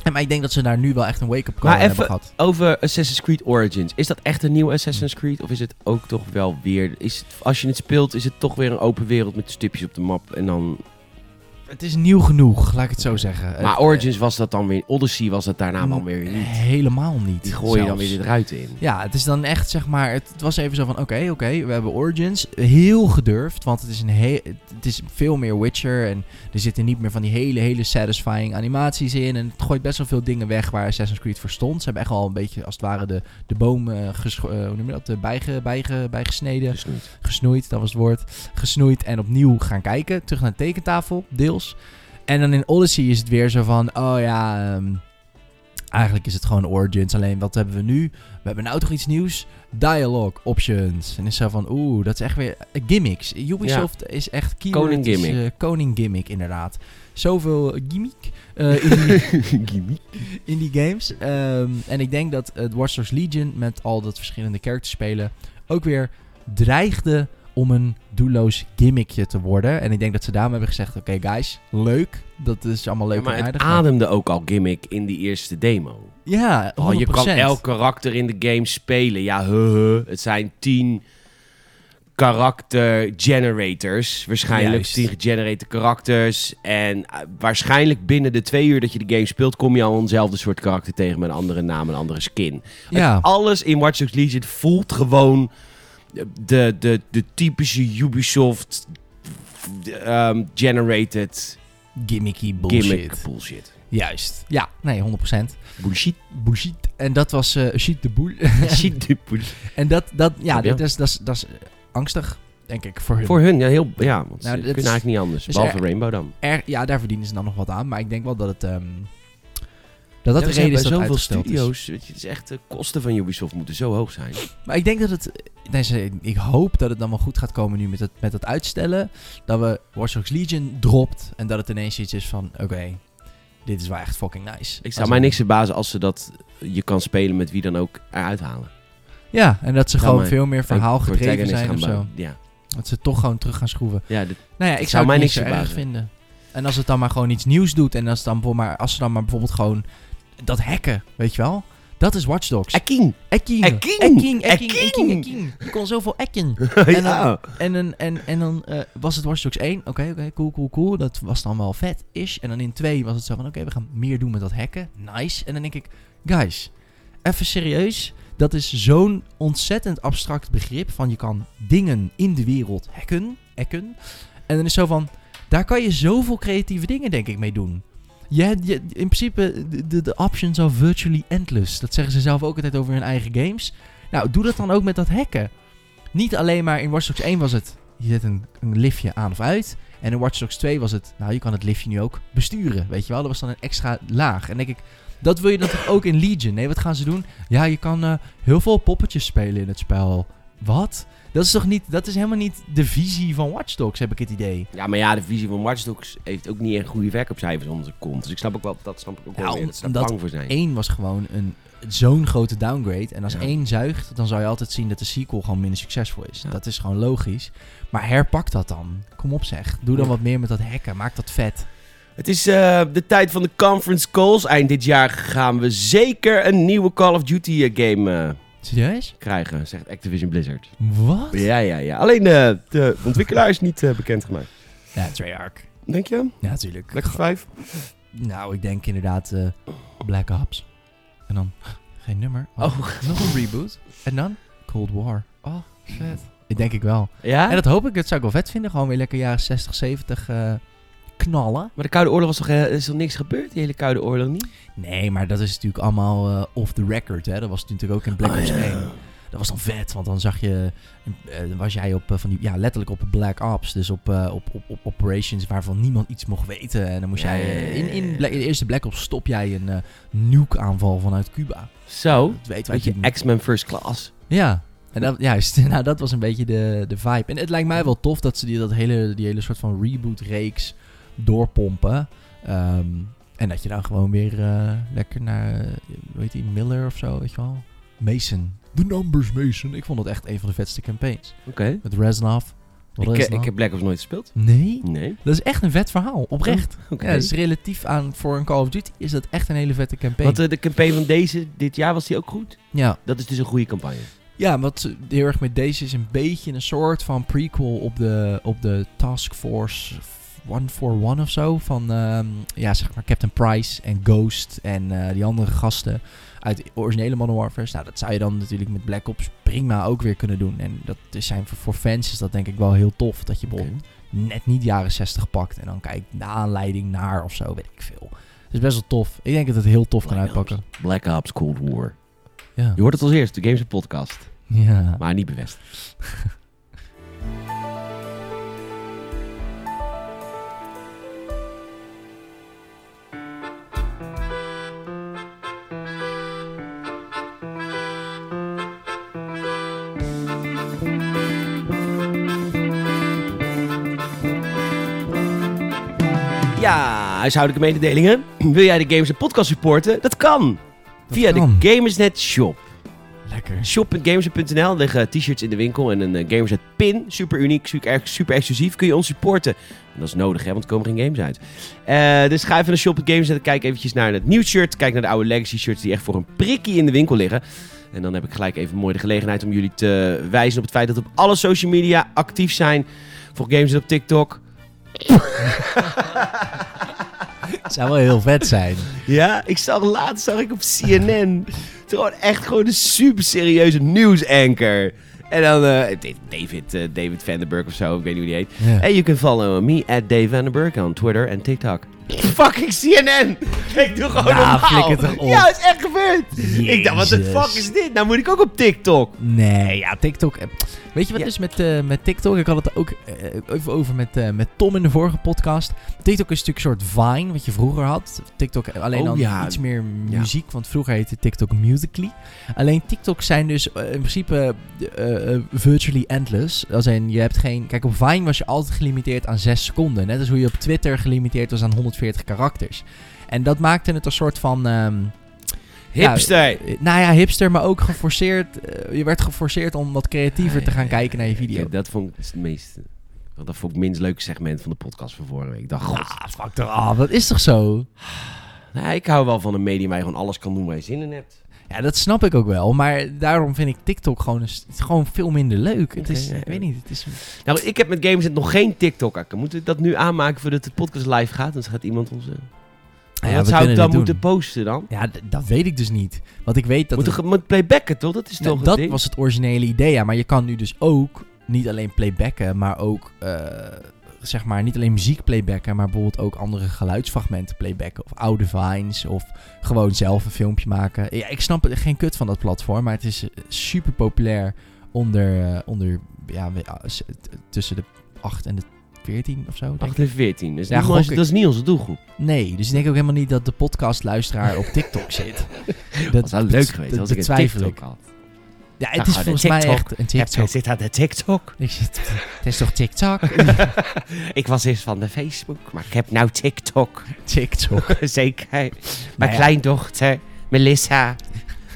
En Maar ik denk dat ze daar nu wel echt een wake-up call Maar hebben even- gehad. Over Assassin's Creed Origins. Is dat echt een nieuw Assassin's Creed? Of is het ook toch wel weer... Is het, als je het speelt, is het toch weer een open wereld met stipjes op de map. En dan... eh, Het is nieuw genoeg, laat ik het zo zeggen. Maar Het- Origins was dat dan weer... Odyssey was dat daarna Mm, dan weer niet. Helemaal niet. Die gooi je dan zelfs. weer de ruit in. Ja, het is dan echt zeg maar. Het, het was even zo van: oké, oké, we hebben Origins. Heel gedurfd, want het is, een he- het is veel meer Witcher. En er zitten niet meer van die hele, hele satisfying animaties in. En het gooit best wel veel dingen weg waar Assassin's Creed voor stond. Ze hebben echt al een beetje, als het ware, de, de boom eh, gescho- eh, hoe noem je dat? Eh, bijge, bijge, bijgesneden. Dus niet. Gesnoeid, dat was het woord. Gesnoeid en opnieuw gaan kijken. Terug naar de tekentafel, deels. En dan in Odyssey is het weer zo van, oh ja, ehm, eigenlijk is het gewoon Origins. Alleen wat hebben we nu? We hebben nou toch iets nieuws? Dialogue options. En is zo van, oeh, dat is echt weer eh, gimmicks. Ubisoft is echt keyword, Koning is, gimmick. eh, koning gimmick, inderdaad. Zoveel gimmick eh, in, die, in die games. Ehm, en ik denk dat het Watch Dogs Legion met al dat verschillende characters spelen ook weer dreigde om een doelloos gimmickje te worden. En ik denk dat ze daarom hebben gezegd, oké guys, leuk. Dat is allemaal leuk Ja, maar en het aardig. maar- ademde ook al gimmick in die eerste demo. Ja, 100%. Oh, je kan elk karakter in de game spelen. Ja, huh, huh. het zijn tien karakter generators. Waarschijnlijk Juist. tien gegenerate karakters. En eh, waarschijnlijk binnen de twee uur dat je de game speelt... kom je al eenzelfde soort karakter tegen met een andere naam en een andere skin. Ja. Het- alles in Watch Dogs Legion voelt gewoon eh, de, de, de typische Ubisoft... ehm, generated Gimmicky bullshit. gimmick bullshit. Juist. Ja, nee, 100%. Bullshit. Bullshit. En dat was eh shit de boel. Shit, de bullshit. en dat, dat ja, Snap je? dat is, dat, is, dat is angstig, denk ik, voor hun. Voor hun, ja, heel, ja want Nou, ze dat kunnen is- eigenlijk niet anders. is Behalve er- Rainbow dan. Er- ja, daar verdienen ze dan nog wat aan. Maar ik denk wel dat het... ehm, dat dat de reden is dat het zoveel uitgesteld is. studio's. Weet je, het is echt, de kosten van Ubisoft moeten zo hoog zijn. Maar ik denk dat het. nee, ze- ik hoop dat het dan wel goed gaat komen nu met het, met het uitstellen. Dat we Watch Dogs Legion dropt. En dat het ineens iets is van: oké, dit is wel echt fucking nice. Ik Als zou mij in- niks verbazen als ze dat je kan spelen met wie dan ook eruit halen. Ja, en dat ze Zou gewoon mij- veel meer verhaal Voor gedreven Tekken is zijn gaan of zo. bouwen. Ja, Dat ze toch gewoon terug gaan schroeven. ja dit- Nou ja, Dat ik zou zou mij het niet niks zo erg verbazen. vinden. En als het dan maar gewoon iets nieuws doet. En als, het dan voor maar, als ze dan maar bijvoorbeeld gewoon dat hacken, weet je wel. Dat is Watch Dogs. Akin. Ekking. Ekking. Ekking. Ekking. Ekking. Ekking. Ekking. Je kon zoveel Ekking. dan- ja. En, een, en, en dan eh, was het Watch Dogs 1. Oké, oké, cool, cool, cool. Dat was dan wel vet is. En dan in 2 was het zo van... Oké, we gaan meer doen met dat hacken. Nice. En dan denk ik... Guys, even serieus. Dat is zo'n ontzettend abstract begrip van... Je kan dingen in de wereld hacken. hacken. En dan is zo van... Daar kan je zoveel creatieve dingen denk ik mee doen. Je, hebt- je, in principe, de- de, de options are virtually endless. Dat zeggen ze zelf ook altijd over hun eigen games. Nou, doe dat dan ook met dat hacken. Niet alleen maar in Watch Dogs 1 was het... Je zet een, een liftje aan of uit. En in Watch Dogs 2 was het... Nou, je kan het liftje nu ook besturen. Weet je wel? Dat was dan een extra laag. En denk ik... Dat wil je dan toch ook in Legion? Nee, wat gaan ze doen? Ja, je kan eh, heel veel poppetjes spelen in het spel. Wat? Dat is toch niet... Dat is helemaal niet de visie van Watch Dogs, heb ik het idee. ja, maar ja, de visie van Watch Dogs heeft ook niet een goede verkoopcijfers onder de kont. Dus ik snap ook wel, dat snap ik ook Ja, wel weer, om- dat ze daar omdat bang voor zijn. Eén was gewoon een, zo'n grote downgrade. En als Ja. één zuigt, dan zou je altijd zien dat de sequel gewoon minder succesvol is. Ja. Dat is gewoon logisch. Maar herpak dat dan. Kom op zeg. Doe dan Ja. wat meer met dat hacken. Maak dat vet. Het is eh, de tijd van de conference calls. Eind dit jaar gaan we zeker een nieuwe Call of Duty eh, game eh, Serieus? krijgen, zegt Activision Blizzard. Wat? Ja, ja, ja. Alleen eh, de ontwikkelaar is niet eh, bekendgemaakt. Ja, Treyarch. Denk je? Ja, natuurlijk. Lekker 5? Nou, ik denk inderdaad eh, Black Ops. En dan geen nummer. Oh. Nog een reboot. En dan Cold War. Oh, vet. Ik denk ik wel. Ja? En dat hoop ik. Dat zou ik wel vet vinden. Gewoon weer lekker jaren 60, 70 eh, knallen. Maar de Koude Oorlog was toch, eh, is toch niks gebeurd? Die hele Koude Oorlog niet? Nee, maar dat is natuurlijk allemaal eh, off the record. Hè? Dat was natuurlijk ook in Oh, Black Ah, Ops 1. Dat was dan vet, want dan zag je... eh, dan was jij op eh, van die... Ja, letterlijk op Black Ops. Dus op, eh, op, op, op operations waarvan niemand iets mocht weten. En dan moest jij... eh, in, in, Bla- in de eerste Black Ops stop jij een eh nuke-aanval vanuit Cuba. Zo, Dat weten wij Oh. weet je, natuurlijk X-Men First Class. niet. Ja. En dat, juist, nou dat was een beetje de, de vibe. En het lijkt mij wel tof dat ze die, dat hele, die hele soort van reboot-reeks doorpompen. Ehm, en dat je dan gewoon weer eh, lekker naar, eh, hoe heet die, Miller of zo, weet je wel? Mason. The Numbers Mason. Ik vond dat echt een van de vetste campaigns. Oké. Met Reznov, Wat ik, is eh, dat? ik heb Black Ops nooit gespeeld. Nee, Nee. dat is echt een vet verhaal, oprecht. Oh, Oké. Ja, dat is relatief aan voor een Call of Duty is dat echt een hele vette campaign. Want eh, de campagne van deze, dit jaar was die ook goed. ja. Dat is dus een goede campagne. Ja, wat ze heel erg met deze is een beetje een soort van prequel op de, op de Task Force 141 of zo. Van ehm, ja, zeg maar Captain Price en Ghost en eh, die andere gasten uit de originele Modern Warfare. Nou, dat zou je dan natuurlijk met Black Ops prima ook weer kunnen doen. En dat is zijn voor, voor fans is dat denk ik wel heel tof. Dat je bijvoorbeeld net niet jaren 60 pakt en dan kijkt de aanleiding naar of zo, weet ik veel. Het is best wel tof. Ik denk dat het heel tof kan Black uitpakken. Black Ops Cold War. Ja. Je hoort het als eerst, de Games en Podcast. ja. Maar niet bewust. Ja, huishoudelijke mededelingen. Wil jij de Games en Podcast supporten? Dat kan. Dat Via kan. de Gamersnet Shop. Lekker. Shop.gamerset.nl liggen t-shirts in de winkel en een eh, Gamerset pin. Super uniek, super, ex- super exclusief. Kun je ons supporten. En dat is nodig, hè, want er komen geen games uit. Eh, dus ga even naar Shop.gamerset en kijk eventjes naar het nieuw shirt. Kijk naar de oude Legacy shirts die echt voor een prikkie in de winkel liggen. En dan heb ik gelijk even mooi de gelegenheid om jullie te wijzen op het feit dat we op alle social media actief zijn. Voor Gameset op TikTok. Zou wel heel vet zijn. Ja, ik zag laatst zag ik op CNN. Het is gewoon echt gewoon een super serieuze nieuwsanker. En dan eh, David, eh, David Vandenberg of zo, ik weet niet hoe die heet. Ja. En you can follow me at Dave Vandenberg on Twitter en TikTok. Fucking CNN! Ik doe gewoon Nou, normaal. flikker toch op. Ja, het is echt gebeurd. Ik dacht, wat de Jezus. fuck is dit? Nou moet ik ook op TikTok. Nee, ja, TikTok. eh, Weet je wat Ja. is met, eh, met TikTok? Ik had het ook eh, even over met, eh, met Tom in de vorige podcast. TikTok is natuurlijk een soort Vine, wat je vroeger had. TikTok eh, alleen Oh, dan ja. iets meer muziek, want vroeger heette TikTok Musical.ly. Alleen TikTok zijn dus eh, in principe eh, eh, virtually endless. Als in, je hebt geen... Kijk, op Vine was je altijd gelimiteerd aan 6 seconden. Net als hoe je op Twitter gelimiteerd was aan 140 karakters. En dat maakte het een soort van... ehm, Ja, Hipster. eh, Nou ja, hipster, maar ook geforceerd. eh, je werd geforceerd om wat creatiever te gaan Ja, kijken naar je ja, ja, video. ja, dat vond ik het meest... want Dat vond ik het minst leuke segment van de podcast van vorige week. Ik dacht, god. Ah, fuck eraf. Dat is toch zo? Nou, ik hou wel van een medium waar je gewoon alles kan doen waar je zin in hebt. Ja, dat snap ik ook wel. Maar daarom vind ik TikTok gewoon, een s- het is gewoon veel minder leuk. Het is, Oké, ja. ik weet niet, het is... een- Nou, ik heb met Gameset nog geen TikTok-account. Moeten we dat nu aanmaken voordat de podcast live gaat? Dan gaat iemand onze... ja, wat we zou kunnen ik dit dan doen. moeten posten dan? Ja, d- dat weet ik dus niet. Want ik weet dat... Moet, het- er ge- moet playbacken, toch? Dat is Nou, toch het dat ding? was het originele idee, ja. Maar je kan nu dus ook niet alleen playbacken, maar ook... eh, zeg maar, niet alleen muziek playbacken, maar bijvoorbeeld ook andere geluidsfragmenten playbacken. Of oude vines, of gewoon zelf een filmpje maken. Ja, ik snap er geen kut van dat platform, maar het is super populair onder... eh, onder ja, we- ah, s- t- tussen de 8 en de 14 of zo, denk ik. 8 en 14. Dus Ja, niet gok onze- ik. dat is niet onze doelgroep. Nee, dus ik denk ook helemaal niet dat de podcastluisteraar op TikTok zit. Dat was wel leuk geweest dat als ik een betwijfel TikTok had. Ja, Nou, het is de volgens mij TikTok. echt een TikTok. zit aan de TikTok. Ik zit- Het is toch TikTok? ik was eerst van de Facebook, maar ik heb nou TikTok. TikTok. Zeker. Mijn Nou ja. kleindochter, Melissa,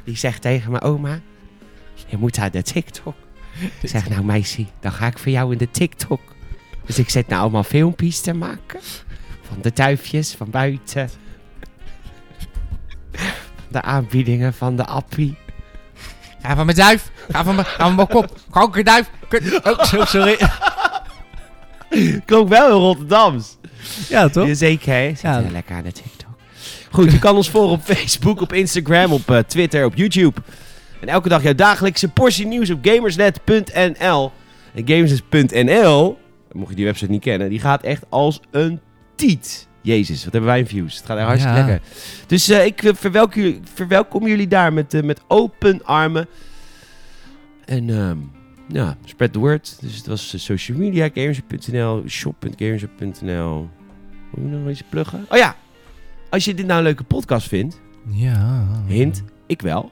die zegt tegen mijn oma... Je moet aan de TikTok. Ik zeg, nou meisje, dan ga ik voor jou in de TikTok. Dus ik zet nou allemaal filmpjes te maken. Van de duifjes van buiten. De aanbiedingen van de appie. Ga van mijn duif. Ga van mijn, ga van mijn kop. Kankerduif. Kut. Oh, zo- sorry. Klonk wel in Rotterdams. Ja, toch? Zeker, hè? Zit Ja. heel lekker aan de TikTok. Goed, je kan ons volgen op Facebook, op Instagram, op eh, Twitter, op YouTube. En elke dag jouw dagelijkse portie nieuws op gamersnet.nl. En gamersnet.nl, mocht je die website niet kennen, die gaat echt als een tiet. Jezus, wat hebben wij in views. Het gaat echt hartstikke Ja. lekker. Dus eh, ik verwelkom jullie, verwelkom jullie daar met, eh, met open armen. En ehm, ja, spread the word. Dus het was eh, social media, gamersnet.nl, shop.gamersnet.nl. Moet je nog iets pluggen? Oh ja, als je dit nou een leuke podcast vindt... Ja. Hint, ik wel.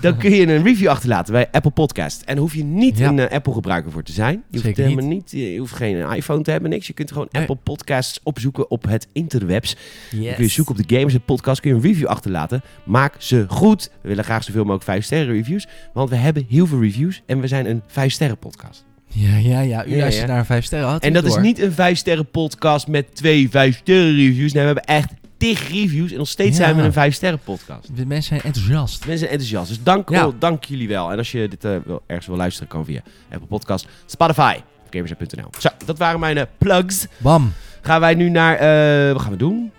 Dan kun je een review achterlaten bij Apple Podcast. En hoef je niet Ja. een eh, Apple gebruiker voor te zijn. Je hoeft, Zeker helemaal niet. eh, je hoeft geen iPhone te hebben, niks. Je kunt gewoon Nee. Apple Podcasts opzoeken op het interwebs. Dan Yes. kun je zoeken op de Games en Podcast. Kun je een review achterlaten. Maak ze goed. We willen graag zoveel mogelijk 5 sterren reviews. Want we hebben heel veel reviews. En we zijn een 5 sterren podcast. Ja, ja, ja. U Ja, luistert ja. naar een vijf sterren. Had En ik dat is door. niet een 5 sterren podcast met twee 5 sterren reviews. Nee, we hebben echt tig reviews en nog steeds Ja. zijn we een 5 sterren podcast. De mensen zijn enthousiast. Mensen zijn enthousiast, dus dank, Ja. wel- dank jullie wel. En als je dit eh, wel, ergens wil luisteren, kan via Apple Podcast, Spotify, gamersapp.nl. Zo, dat waren mijn eh, plugs. Bam. Gaan wij nu naar, eh, wat gaan we doen?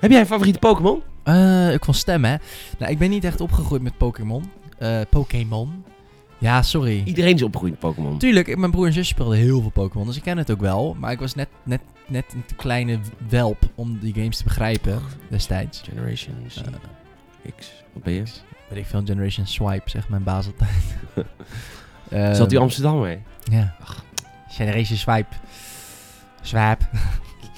Heb jij een favoriete Pokémon? Eh, ik van stem, hè. Nou, ik ben niet echt opgegroeid met Pokémon. Eh, Pokémon. Ja, sorry. Iedereen is opgegroeid met Pokémon. Tuurlijk, ik- mijn broer en zus speelden heel veel Pokémon, dus ik ken het ook wel. Maar ik was net, net, net een te kleine welp om die games te begrijpen destijds. Eh, Generation Z, X, wat ben je? Weet ik veel, Generation Swipe, zegt mijn baas altijd. Ehm, Zat u Amsterdam mee? Ja. Generation Swipe. Swipe.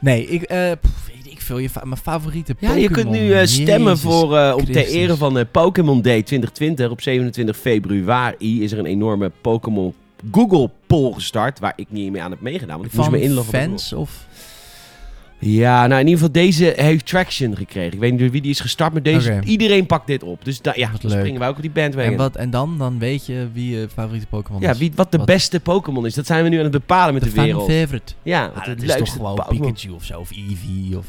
nee, ik, eh, pff, weet ik veel. Je fa- mijn favoriete Ja, Pokémon. je kunt nu eh, stemmen Jezus. voor, eh, om ter Christus. ere van eh, Pokémon Day 2020. Op 27 februari is er een enorme Pokémon Google poll gestart. Waar ik niet mee aan heb meegedaan, want ik moest Van me inloggen. op Google. fans of... Ja, nou in ieder geval deze heeft traction gekregen. Ik weet niet door wie die is gestart, maar deze, Oké. iedereen pakt dit op. Dus da- ja, Wat dan leuk. springen wij ook op die bandwagon. En, wat, en dan? Dan weet je wie je favoriete Pokémon ja, is. wie, wat de wat- beste Pokémon is, dat zijn we nu aan het bepalen met de, de fan wereld. favorite. Ja, Ah, wat dat het is toch leukste gewoon Pokémon. Pikachu of zo, of Eevee of...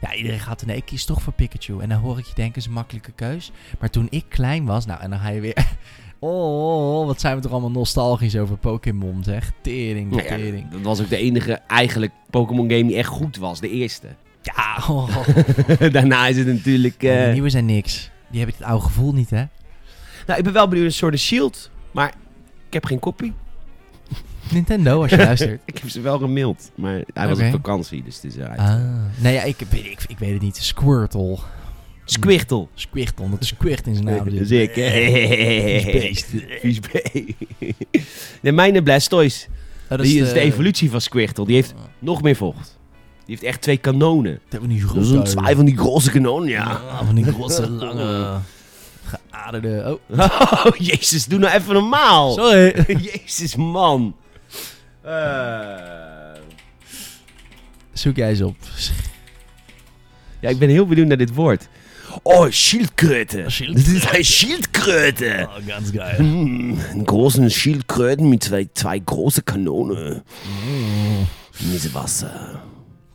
Ja, iedereen gaat er, nee, ik kies toch voor Pikachu. En dan hoor ik je denken, is een makkelijke keus. Maar toen ik klein was, nou, en dan ga je weer... Oh, oh, oh, wat zijn we toch allemaal nostalgisch over Pokémon, zeg. Tering, Nou ja, tering. dat was ook de enige eigenlijk Pokémon game die echt goed was, de eerste. Ja, oh. Daarna is het natuurlijk... eh, de nieuwe zijn niks. Die hebben het oude gevoel niet, hè? Nou, ik ben wel benieuwd naar Sword and Shield, maar ik heb geen kopie. Nintendo, als je luistert. Ik heb ze wel gemaild, maar hij was Oké. op vakantie, dus het is eruit. Ah. Nee, ja, ik, weet- ik, ik weet het niet. Squirtle. Squirtle. Squirtle, omdat er squirt in zijn naam dus. zit. Zeker. Vies beest. Nou, Vies beest. Nee, mijn Blastoise, Dat die is de Ah. evolutie van Squirtle. Die heeft nog meer vocht. Die heeft echt twee kanonen. Dat hebben we nu Dat is een zwaai van die grote kanonen, ja. Van die grote, lange, geaderde... Oh, jezus, doe nou even normaal. Oh, sorry. Jezus, man. Eh... Zoek jij eens op. Ja, ik ben heel benieuwd naar dit woord. Oh, schildkröte. Schildkröte. Dit zijn schildkröte. ganz geil. Mm, een grote schildkröten met twee, twee grote kanonen. Met Wasser.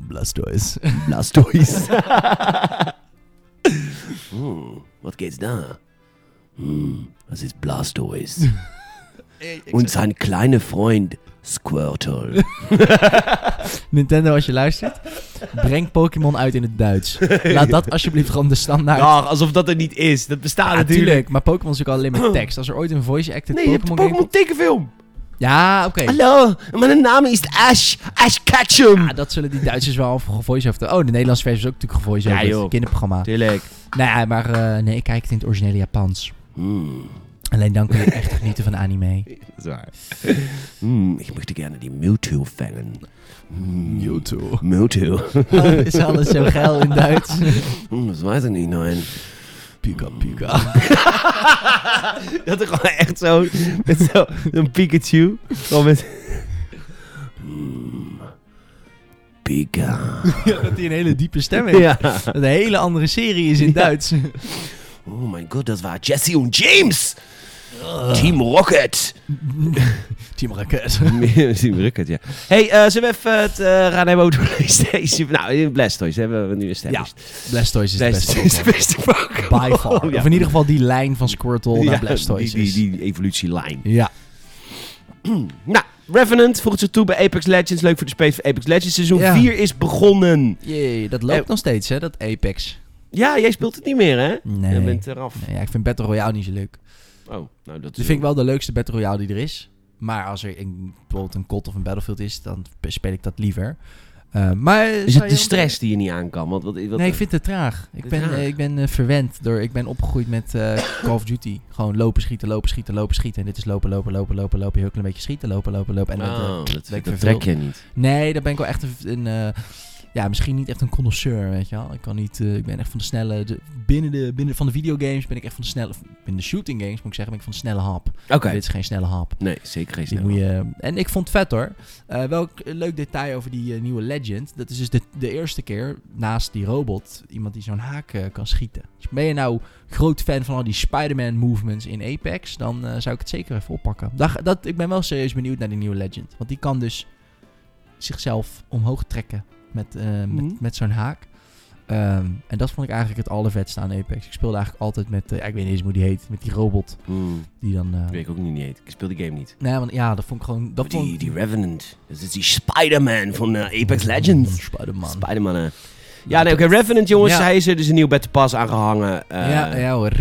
Blastoise. Blastoise. mm, wat geht's da? Mm, das ist Blastoise. Und sein kleiner Freund Squirtle. Nintendo, als je luistert, breng Pokémon uit in het Duits. Laat dat alsjeblieft gewoon de standaard... Ach, alsof dat er niet is. Dat bestaat Ja, tuurlijk. Maar Pokémon is natuurlijk alleen maar tekst. Als er ooit een voice-acted Nee, je hebt een Pokémon game... Pokémon tekenfilm. Ja, oké. Hallo, mijn naam is Ash. Ash Ketchum. Ja, dat zullen die Duitsers wel gevoice-over. Oh, de Nederlandse versie is ook natuurlijk gevoice-over. Ja, joh. Kinderprogramma. Tuurlijk. Nee, maar eh, nee, ik kijk het in het originele Japans. Hmm. Alleen dan kun je echt genieten van anime. Dat is waar. Hm, ik möchte gerne die Mewtwo vangen. Hm, YouTube. Mewtwo. Oh, is alles zo geil in Duits. Hm, dat weet ik niet, nein. Pika pika. dat er gewoon echt zo... Met zo een Pikachu. Gewoon met... Hm, Pika. Ja, dat hij een hele diepe stem heeft. Ja. Dat een hele andere serie is in Duits. Oh mijn god, dat waren Jesse en James. Team Rocket. Team Raket. Team Rocket, ja. hey, eh, zullen we even het eh gaan hebben over de PlayStation? Nou, Blastoise hebben we nu established. Blastoise is Oh, het Blastoise is beste. de beste Pokémon. By far. Ja. Of in ieder geval die lijn van Squirtle naar Blastoise Die, is. die, die evolutielijn. Ja. Nou, Revenant voegt zich toe bij Apex Legends. Leuk voor de space van Apex Legends. Seizoen Ja. 4 is begonnen. Jee, dat loopt nog steeds hè, dat Apex. Ja, jij speelt het niet meer, hè? Nee. Je bent eraf. Nee, ja, ik vind Battle Royale niet zo leuk. Oh, nou dat is... Dat vind ik wel de leukste Battle Royale die er is. Maar als er een, bijvoorbeeld een COD of een Battlefield is, dan speel ik dat liever. Eh, maar Is het de stress die je niet aan kan? Want wat, wat, Nee, ik vind het te traag. Ik Te ben, traag. eh, ik ben eh, verwend. Door, ik ben opgegroeid met eh, Call of Duty. Gewoon lopen, schieten, lopen, schieten, lopen, schieten. En dit is lopen, lopen, lopen, lopen, lopen. Heel klein beetje schieten, lopen, lopen, lopen. En dat, eh, Oh, dat, ben ik dat vervuld. trek je niet. nee, daar ben ik wel echt een... een, eh, ja, misschien niet echt een connoisseur, weet je wel. Ik kan niet, eh, ik ben echt van de snelle, de- binnen, de, binnen van de videogames ben ik echt van de snelle, binnen de shooting games moet ik zeggen, ben ik van de snelle hap. Oké. Dit is geen snelle hap. Nee, zeker geen Die snel. moet je, en ik vond het vet hoor. Eh, wel een k- een leuk detail over die eh, nieuwe Legend. Dat is dus de, de eerste keer naast die robot iemand die zo'n haak eh, kan schieten. Dus ben je nou groot fan van al die Spider-Man movements in Apex, dan eh, zou ik het zeker even oppakken. Dat, dat, ik ben wel serieus benieuwd naar die nieuwe Legend. Want die kan dus zichzelf omhoog trekken met, eh, Mhm. met, met zo'n haak. Ehm, en dat vond ik eigenlijk het allervetste aan Apex. Ik speelde eigenlijk altijd met, eh, ja, ik weet niet eens hoe die heet, met die robot Hmm, die dan... eh, dat weet ik ook niet niet heet. Ik speel die game niet. Nee, want ja, dat vond ik gewoon... Dat vond... Die, die Revenant. Dat is die Spider-Man van eh, Apex Legends. Oh, Spider-Man. Spider-Man. hè. Ja, nee, oké. Revenant, jongens. Ja. Hij is er dus een nieuw Battle Pass aangehangen. Eh, ja, ja hoor.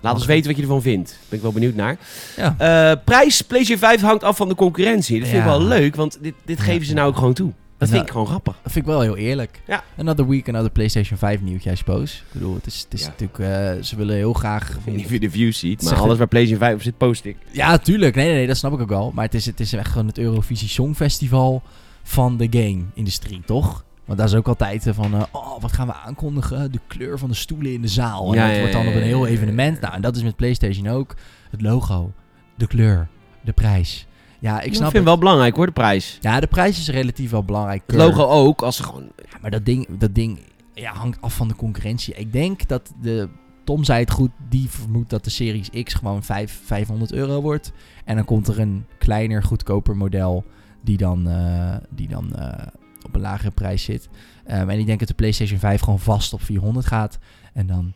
Laat ons weten wat je ervan vindt. Ben ik wel benieuwd naar. Ja. Eh, prijs PlayStation 5 hangt af van de concurrentie. Dat vind ik Ja. wel leuk, want dit, dit Ja, geven ze ja. nou ook gewoon toe. Dat Ja. vind ik gewoon grappig. Dat vind ik wel heel eerlijk. Ja. Another week, another PlayStation 5 nieuwtje, I suppose. Ik bedoel, het is, het is Ja. natuurlijk... eh, ze willen heel graag... Ik weet niet of je de views ziet, maar Zeg- alles waar PlayStation 5 op zit, post ik. Ja, tuurlijk. Nee, nee, nee, dat snap ik ook wel. Maar het is, het is echt gewoon het Eurovisie Songfestival van de game-industrie, toch? Want daar is ook altijd eh, van, eh, oh, wat gaan we aankondigen? De kleur van de stoelen in de zaal. En Ja, dat ja, wordt dan ja, op een ja, heel ja, ja, evenement. ja. Nou, en dat is met PlayStation ook. Het logo, de kleur, de prijs. Ja, ik Ik snap vind het het. wel belangrijk hoor, de prijs. Ja, de prijs is relatief wel belangrijk. Het logo ook, als ze gewoon... Ja, maar dat ding, dat ding ja, hangt af van de concurrentie. Ik denk dat de. Tom zei het goed, die vermoedt dat de Series X gewoon 5, 500 euro wordt. En dan komt er een kleiner, goedkoper model die dan, eh, die dan eh, op een lagere prijs zit. Ehm, en ik denk dat de PlayStation 5 gewoon vast op 400 gaat. En dan,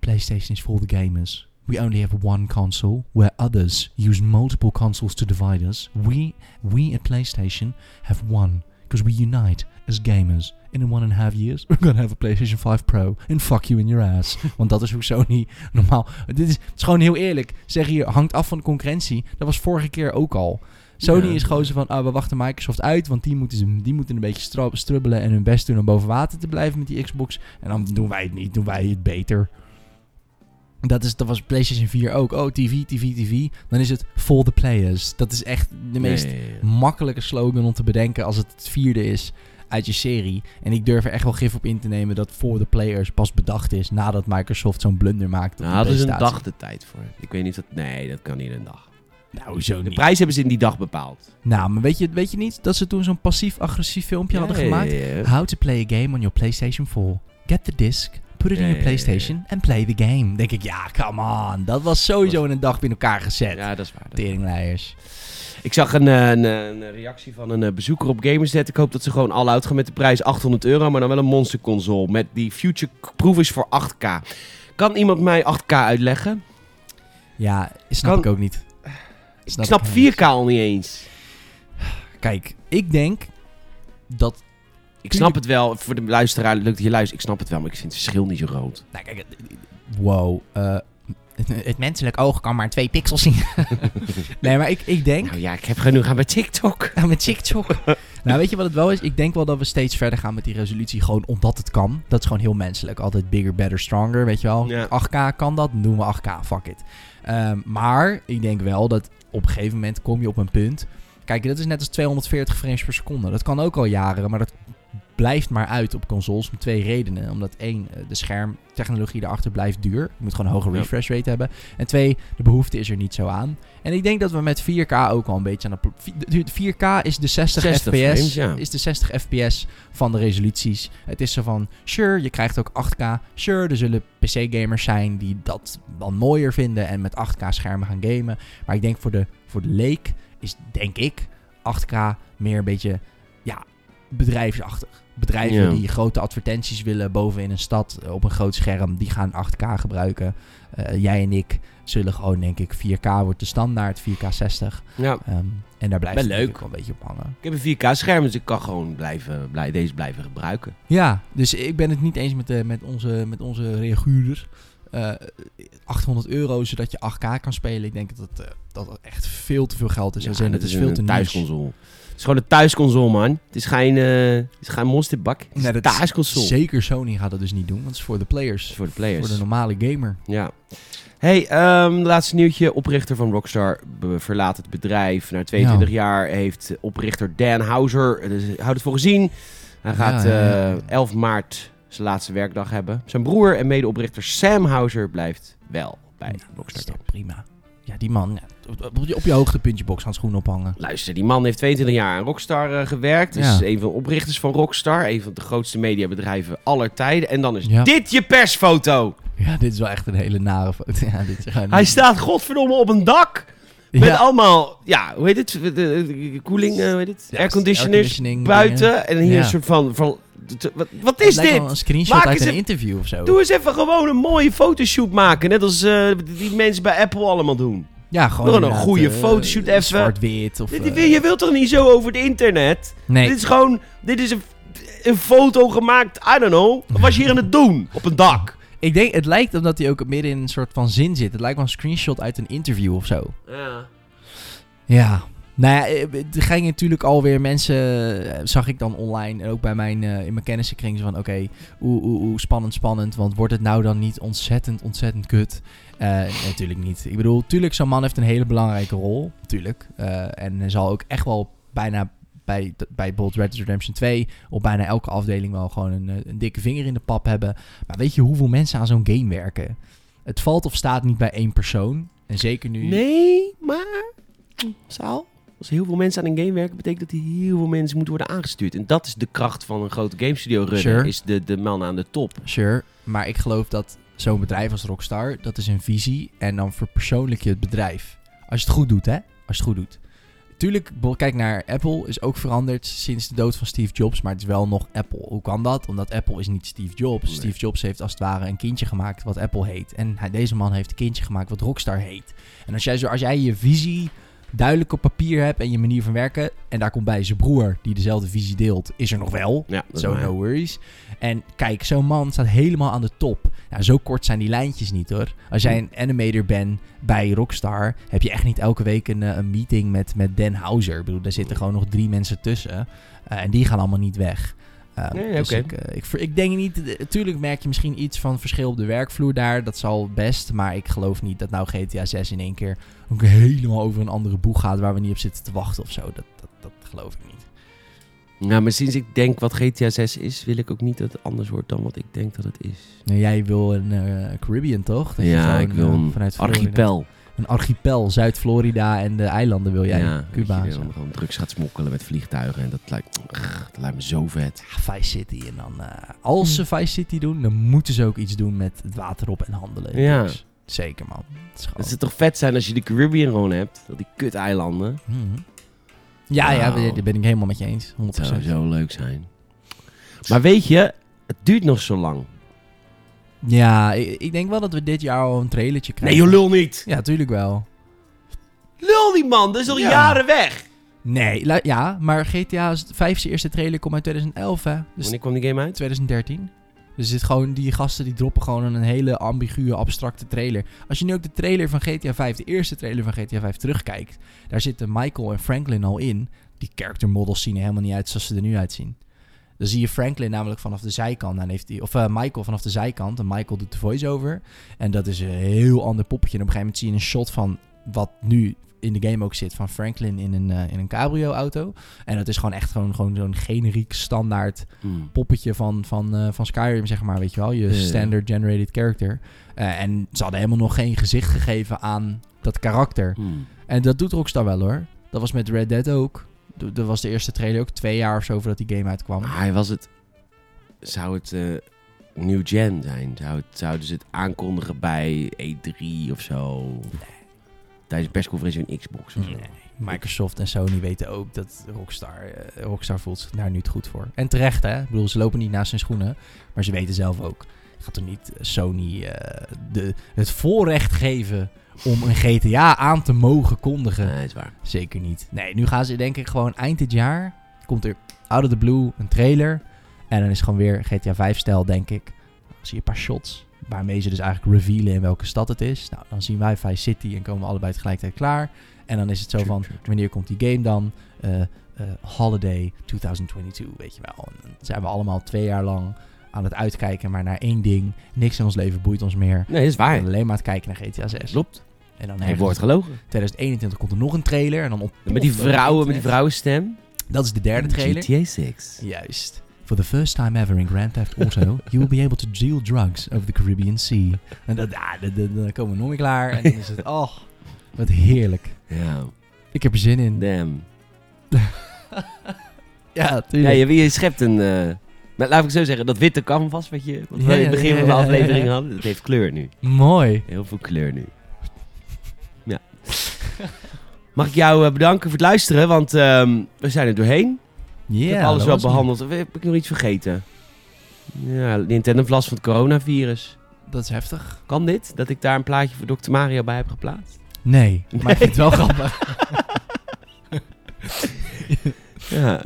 PlayStation is for the gamers. We only have one console, where others use multiple consoles to divide us. We, we at PlayStation have one. Because we unite as gamers. And in one and a half years, we're gonna have a PlayStation 5 Pro. And fuck you in your ass. Want dat is hoe Sony normaal... Dit is, het is gewoon heel eerlijk. Zeg hier, hangt af van de concurrentie. Dat was vorige keer ook al. Sony Ja. is gewoon zo van, ah, we wachten Microsoft uit. Want die moeten, ze- die moeten een beetje stra- strubbelen en hun best doen om boven water te blijven met die Xbox. En dan doen wij het niet, doen wij het beter. Dat, is, dat was PlayStation 4 ook. Oh, TV, TV, TV. Dan is het for the players. Dat is echt de meest makkelijke slogan om te bedenken als het het vierde is uit je serie. En ik durf er echt wel gif op in te nemen dat voor de players pas bedacht is nadat Microsoft zo'n blunder maakt. op Nou, de hadden ze een presentatie. dag de tijd voor. Ik weet niet of dat... Nee, dat kan niet in een dag. Nou, zo De niet. prijs hebben ze in die dag bepaald. Nou, maar weet je, weet je niet dat ze toen zo'n passief-agressief filmpje hadden Ja, gemaakt? ja, ja. How to play a game on your PlayStation 4. Get the disc, put it Ja, in ja, ja, your ja. PlayStation and play the game. Denk ik, ja, come on. Dat was sowieso in een dag in elkaar gezet. Ja, dat is waar. dat is waar. Teringleiers. Ik zag een, eh, een, eh, een reactie van een eh, bezoeker op Gamerset. Ik hoop dat ze gewoon all-out gaan met de prijs 800 euro, maar dan wel een monsterconsole met die future-proofers voor 8K. Kan iemand mij 8K uitleggen? Ja, snap Kan- ik ook niet. Ik snap helemaal niet. 4K al niet eens. Kijk, ik denk dat Ik snap het wel. Voor de luisteraar, leuk dat je luistert. Ik snap het wel, maar ik vind het verschil niet zo groot. Nou, kijk, het- wow. eh, het, het menselijk oog kan maar twee pixels zien. nee, maar ik, ik denk. Nou ja, ik heb genoeg aan bij TikTok. Nou, met TikTok. nou, weet je wat het wel is? Ik denk wel dat we steeds verder gaan met die resolutie. Gewoon omdat het kan. Dat is gewoon heel menselijk. Altijd bigger, better, stronger. Weet je wel? Ja. 8K kan dat. Dan doen we 8K. Fuck it. Ehm, maar ik denk wel dat op een gegeven moment kom je op een punt. Kijk, dat is net als 240 frames per seconde. Dat kan ook al jaren, maar dat blijft maar uit op consoles om twee redenen. Omdat één, eh, de schermtechnologie daarachter blijft duur. Je moet gewoon een hoge Ja. refresh rate hebben. En twee, de behoefte is er niet zo aan. En ik denk dat we met 4K ook wel een beetje aan de... pl- vi- de- 4K is de 60, 60 fps. frames, ja. Is de 60 fps van de resoluties. Het is zo van, sure, je krijgt ook 8K. Sure, er zullen PC-gamers zijn die dat dan mooier vinden en met 8K schermen gaan gamen. Maar ik denk voor de, voor de leek is, denk ik, 8K meer een beetje, ja, bedrijfsachtig. Bedrijven Ja. die grote advertenties willen boven in een stad eh, op een groot scherm, die gaan 8K gebruiken. Eh, jij en ik zullen gewoon, denk ik, 4K wordt de standaard, 4K 60. Ja, Ehm, en daar blijft Wel het natuurlijk leuk. wel een beetje op hangen. ik heb een 4K-scherm, dus ik kan gewoon blijven, blij- deze blijven gebruiken. Ja, dus ik ben het niet eens met, eh, met, onze, met onze reaguurder. Eh, 800 euro, zodat je 8K kan spelen. Ik denk dat dat, eh, dat dat echt veel te veel geld is. Ja, Als in, dat het is veel een te niche. thuisconsole. Het is gewoon een thuisconsole, man. Het is geen, eh, het is geen monsterbak. Het is Nee, een dat is thuisconsole. Zeker Sony gaat dat dus niet doen, want het is voor de players. Voor de players. Voor de normale gamer. Ja. Hey, ehm, laatste nieuwtje. Oprichter van Rockstar be- verlaat het bedrijf. Na 22 jaar heeft oprichter Dan Houser, eh, dus houdt het voor gezien, Hij gaat Ja, ja, ja. eh, 11 maart zijn laatste werkdag hebben. Zijn broer en medeoprichter Sam Houser blijft wel bij Nou, Dat Rockstar is Games. toch prima. Ja, die man. Ja, op- op- op je hoogtepuntje bokshandschoen ophangen. Luister, die man heeft 22 jaar aan Rockstar eh, gewerkt. Is Ja. een van de oprichters van Rockstar. Een van de grootste mediabedrijven aller tijden. En dan is Ja. dit je persfoto. Ja, dit is wel echt een hele nare foto. Ja, dit is gewoon Hij niet- staat godverdomme op een dak. Ja. Met allemaal, ja, hoe heet het? De, de- de koeling, eh, hoe heet het? Ja, Airconditioners airconditioning buiten. dingen. En hier Ja. een soort van... van t- wat, wat is Het lijkt dit? wel een screenshot Maak uit eens een een- interview of zo. Doe eens even gewoon een mooie fotoshoot maken. Net als eh, die mensen bij Apple allemaal doen. Ja, gewoon Nog een inderdaad, goede eh, fotoshoot even. Zwart-wit of... Dit- eh, dit- Je wilt toch niet zo over het internet? nee, Dit is gewoon... Dit is een, een foto gemaakt, I don't know. Wat was je hier aan het doen? Op een dak. ik denk, het lijkt omdat hij ook midden in een soort van zin zit. Het lijkt wel een screenshot uit een interview of zo. Ja. Ja. Nou ja, eh, er gingen natuurlijk alweer mensen, eh, zag ik dan online, en ook bij mijn, eh, in mijn kennissenkring, zo van oké, oeh, oeh, oeh, spannend, spannend, want wordt het nou dan niet ontzettend, ontzettend kut? Eh, natuurlijk niet. Ik bedoel, tuurlijk, zo'n man heeft een hele belangrijke rol, tuurlijk. Eh, en hij zal ook echt wel bijna bij, bij Bold Red Dead Redemption 2 op bijna elke afdeling wel gewoon een, eh, een dikke vinger in de pap hebben. Maar weet je hoeveel mensen aan zo'n game werken? Het valt of staat niet bij één persoon. En zeker nu... Nee, maar... Saal? Als heel veel mensen aan een game werken, betekent dat heel veel mensen moeten worden aangestuurd. En dat is de kracht van een grote game studio runner. Sure. Is de, de man aan de top. Sure, maar ik geloof dat zo'n bedrijf als Rockstar, dat is een visie en dan verpersoonlijk je het bedrijf. Als je het goed doet, hè? Als je het goed doet. Tuurlijk, bo- kijk naar Apple, is ook veranderd sinds de dood van Steve Jobs, maar het is wel nog Apple. Hoe kan dat? Omdat Apple is niet Steve Jobs. Nee. Steve Jobs heeft als het ware een kindje gemaakt wat Apple heet. En hij, deze man heeft een kindje gemaakt wat Rockstar heet. En als jij, zo, als jij je visie duidelijk op papier hebt en je manier van werken, en daar komt bij zijn broer die dezelfde visie deelt, is er nog wel. Ja, dat is Zo waar. no worries. En kijk, zo'n man staat helemaal aan de top. Nou, zo kort zijn die lijntjes niet hoor. Als Hm. jij een animator bent bij Rockstar, heb je echt niet elke week een, eh, een meeting met, met Dan Houser. Ik bedoel, daar Hm. zitten gewoon nog drie mensen tussen. Eh, en die gaan allemaal niet weg. Eh, Nee, dus oké. ik, eh, ik, ver- ik denk niet, natuurlijk merk je misschien iets van verschil op de werkvloer daar. Dat zal best, maar ik geloof niet dat nou GTA 6 in één keer ook helemaal over een andere boeg gaat waar we niet op zitten te wachten of zo. Dat, dat, dat geloof ik niet. Nou, maar sinds ik denk wat GTA 6 is, wil ik ook niet dat het anders wordt dan wat ik denk dat het is. Nou, jij wil een eh, Caribbean, toch? Dat je ja, gewoon, ik wil eh, een Florida- archipel. Een archipel, Zuid-Florida en de eilanden wil Oh, jij. ja, Cuba. dat je zo. dan gewoon drugs gaat smokkelen met vliegtuigen. En dat lijkt, grr, dat lijkt me zo vet. Ja, Vice City. En dan, eh, als Hm. ze Vice City doen, dan moeten ze ook iets doen met het water op en handelen. in Ja. drugs. Zeker, man. Het is gewoon- Oh. Het zou toch vet zijn als je de Caribbean gewoon hebt? Dat die kut-eilanden. Mhm. Ja, ja, Wauw. daar ben ik helemaal met je eens. 100%. Dat zou zo leuk zijn. Maar weet je, het duurt nog zo lang. Ja, ik, ik denk wel dat we dit jaar al een trailertje Nee, joh, krijgen. lul niet. Ja, tuurlijk wel. Lul die man, dat is al Ja. jaren weg. Nee, lu- ja, maar GTA 5 eerste trailer komt uit 2011, hè? Dus Wanneer kwam die game uit? 2013. Dus dit gewoon, die gasten die droppen gewoon een hele ambiguë, abstracte trailer. Als je nu ook de trailer van GTA 5, de eerste trailer van GTA 5 terugkijkt, daar zitten Michael en Franklin al in. Die character models zien er helemaal niet uit zoals ze er nu uitzien. Dan zie je Franklin namelijk vanaf de zijkant. En heeft die, of eh, Michael vanaf de zijkant. En Michael doet de voice-over. En dat is een heel ander poppetje. En op een gegeven moment zie je een shot van wat nu in de game ook zit. Van Franklin in een, eh, in een cabrio-auto. En dat is gewoon echt gewoon, gewoon zo'n generiek standaard Hmm. poppetje van, van, eh, van Skyrim, zeg maar, weet je wel. Je Ja, ja. standard generated character. Eh, en ze hadden helemaal nog geen gezicht gegeven aan dat karakter. Hmm. En dat doet Rockstar wel hoor. Dat was met Red Dead ook. D- Dat was de eerste trailer ook twee jaar of zo voordat die game uitkwam. Maar hij was het. Zou het eh, New Gen zijn? Zou het, zouden ze het aankondigen bij E3 of zo? Tijdens een persconferentie van Xbox of zo? Nee. Microsoft en Sony weten ook dat Rockstar, eh, Rockstar voelt zich daar nu het goed voor. En terecht hè. Ik bedoel, ze lopen niet naast hun schoenen. Maar ze weten zelf ook. Gaat er niet Sony eh, de, het voorrecht geven om een GTA aan te mogen kondigen. Nee, is waar. Zeker niet. Nee, nu gaan ze denk ik gewoon eind dit jaar. Komt er out of the blue een trailer. En dan is het gewoon weer GTA 5 stijl, denk ik. Dan zie je een paar shots. Waarmee ze dus eigenlijk revealen in welke stad het is. Nou, dan zien wij Vice City en komen we allebei tegelijkertijd klaar. En dan is het zo True, van, true, true. wanneer komt die game dan? Eh, eh, holiday 2022, weet je wel. En dan zijn we allemaal twee jaar lang aan het uitkijken, maar naar één ding. Niks in ons leven boeit ons meer. Nee, is We waar. zijn alleen maar aan het kijken naar GTA 6. Klopt. En dan Hij ergens- wordt gelogen. 2021 komt er nog een trailer en dan op Met die vrouwen, met die vrouwenstem. Dat is de derde trailer. GTA 6. Juist. For the first time ever in Grand Theft Auto, you will be able to deal drugs over the Caribbean Sea. En dat, ah, dat- dat- dan komen we nog niet klaar. En dan is het, oh, wat heerlijk. Ja, Ik heb er zin in. damn. Ja, Ja, tuurlijk. je, je schept een... eh, nou, laat ik het zo zeggen, dat witte canvas wat, je, wat we Ja, in ja, het begin ja, van de ja, ja, aflevering ja. hadden, dat heeft kleur nu. Mooi. Heel veel kleur nu. Ja. Mag ik jou eh, bedanken voor het luisteren, want ehm, we zijn er doorheen. Ja, ik heb alles dat wel was hem. behandeld. Of Heb ik nog iets vergeten? Ja, Nintendo heeft last van het coronavirus. Dat is heftig. Kan dit? Dat ik daar een plaatje voor Dr. Mario bij heb geplaatst? Nee, maar ik vind het wel grappig. Ja,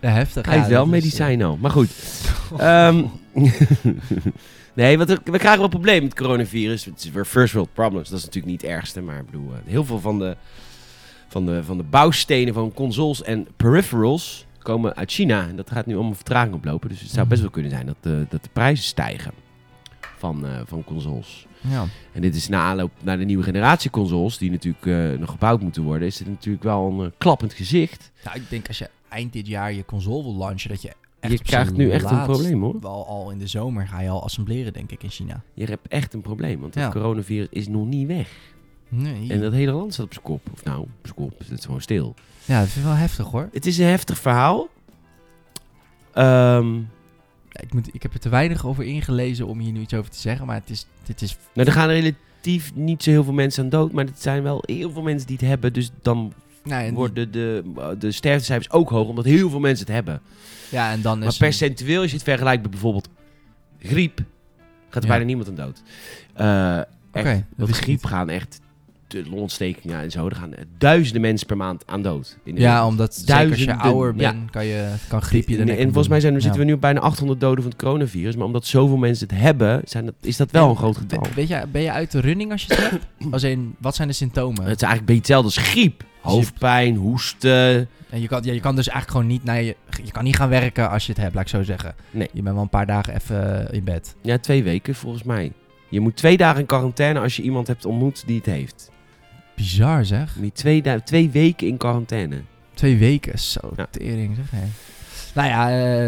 Ja, heftig. hij is ja, wel dat eh, medicijn al. Maar goed. Ehm, nee, want er- we krijgen wel een probleem met het coronavirus. Het is weer first world problems. Dat is natuurlijk niet het ergste. Maar ik bedoel, eh, heel veel van de, van, de, van de bouwstenen van consoles en peripherals komen uit China. En dat gaat nu allemaal vertraging oplopen. Dus het zou best wel kunnen zijn dat de, dat de prijzen stijgen van, eh, van consoles. eh, Ja. En dit is na aanloop naar de nieuwe generatie consoles, die natuurlijk eh, nog gebouwd moeten worden, is dit natuurlijk wel een eh, klappend gezicht. Nou, ik denk als je eind dit jaar je console wil launchen, dat je echt je op krijgt z'n nu echt een laatst- probleem hoor. Wel al in de zomer ga je al assembleren, denk ik, in China. Je hebt echt een probleem, want Ja. het coronavirus is nog niet weg. Nee. En dat hele land staat op zijn kop. Of nou, op zijn kop, het is gewoon stil. Ja, dat vind ik wel heftig hoor. Het is een heftig verhaal. Ehm, Ja, Ik, moet, ik heb er te weinig over ingelezen om hier nu iets over te zeggen, maar het is, dit is nou, er gaan relatief niet zo heel veel mensen aan dood, maar het zijn wel heel veel mensen die het hebben. Dus dan Nou, en die- worden de, de sterftecijfers ook hoog, omdat heel veel mensen het hebben. ja, en dan Maar is een- percentueel, als je het vergelijkt met bijvoorbeeld griep, gaat er Ja. bijna niemand aan dood. Eh echt, Oké, dat want wist ik griep niet. gaan echt, de longontstekingen en zo, er gaan duizenden mensen per maand aan dood. In de Ja, wereld. omdat zeker Duizenden, als je ouder ja. bent, kan, je, kan griep je er en, nek en om volgens mij doen. zijn, we Ja. zitten we nu op bijna 800 doden van het coronavirus, maar omdat zoveel mensen het hebben, zijn dat, is dat wel En- een groot getal. We- Weet je, ben je uit de running als je het hebt? Als in, wat zijn de symptomen? Het is eigenlijk bij hetzelfde als griep. Hoofdpijn, hoesten. En je, kan, ja, je kan dus eigenlijk gewoon niet naar je... Je kan niet gaan werken als je het hebt, laat ik zo zeggen. Nee. Je bent wel een paar dagen even in bed. Ja, twee weken volgens mij. Je moet twee dagen in quarantaine als je iemand hebt ontmoet die het heeft. Bizar zeg. Je moet twee, da- twee weken in quarantaine. Twee weken, zo Ja. tering zeg. hè. Nou ja, eh,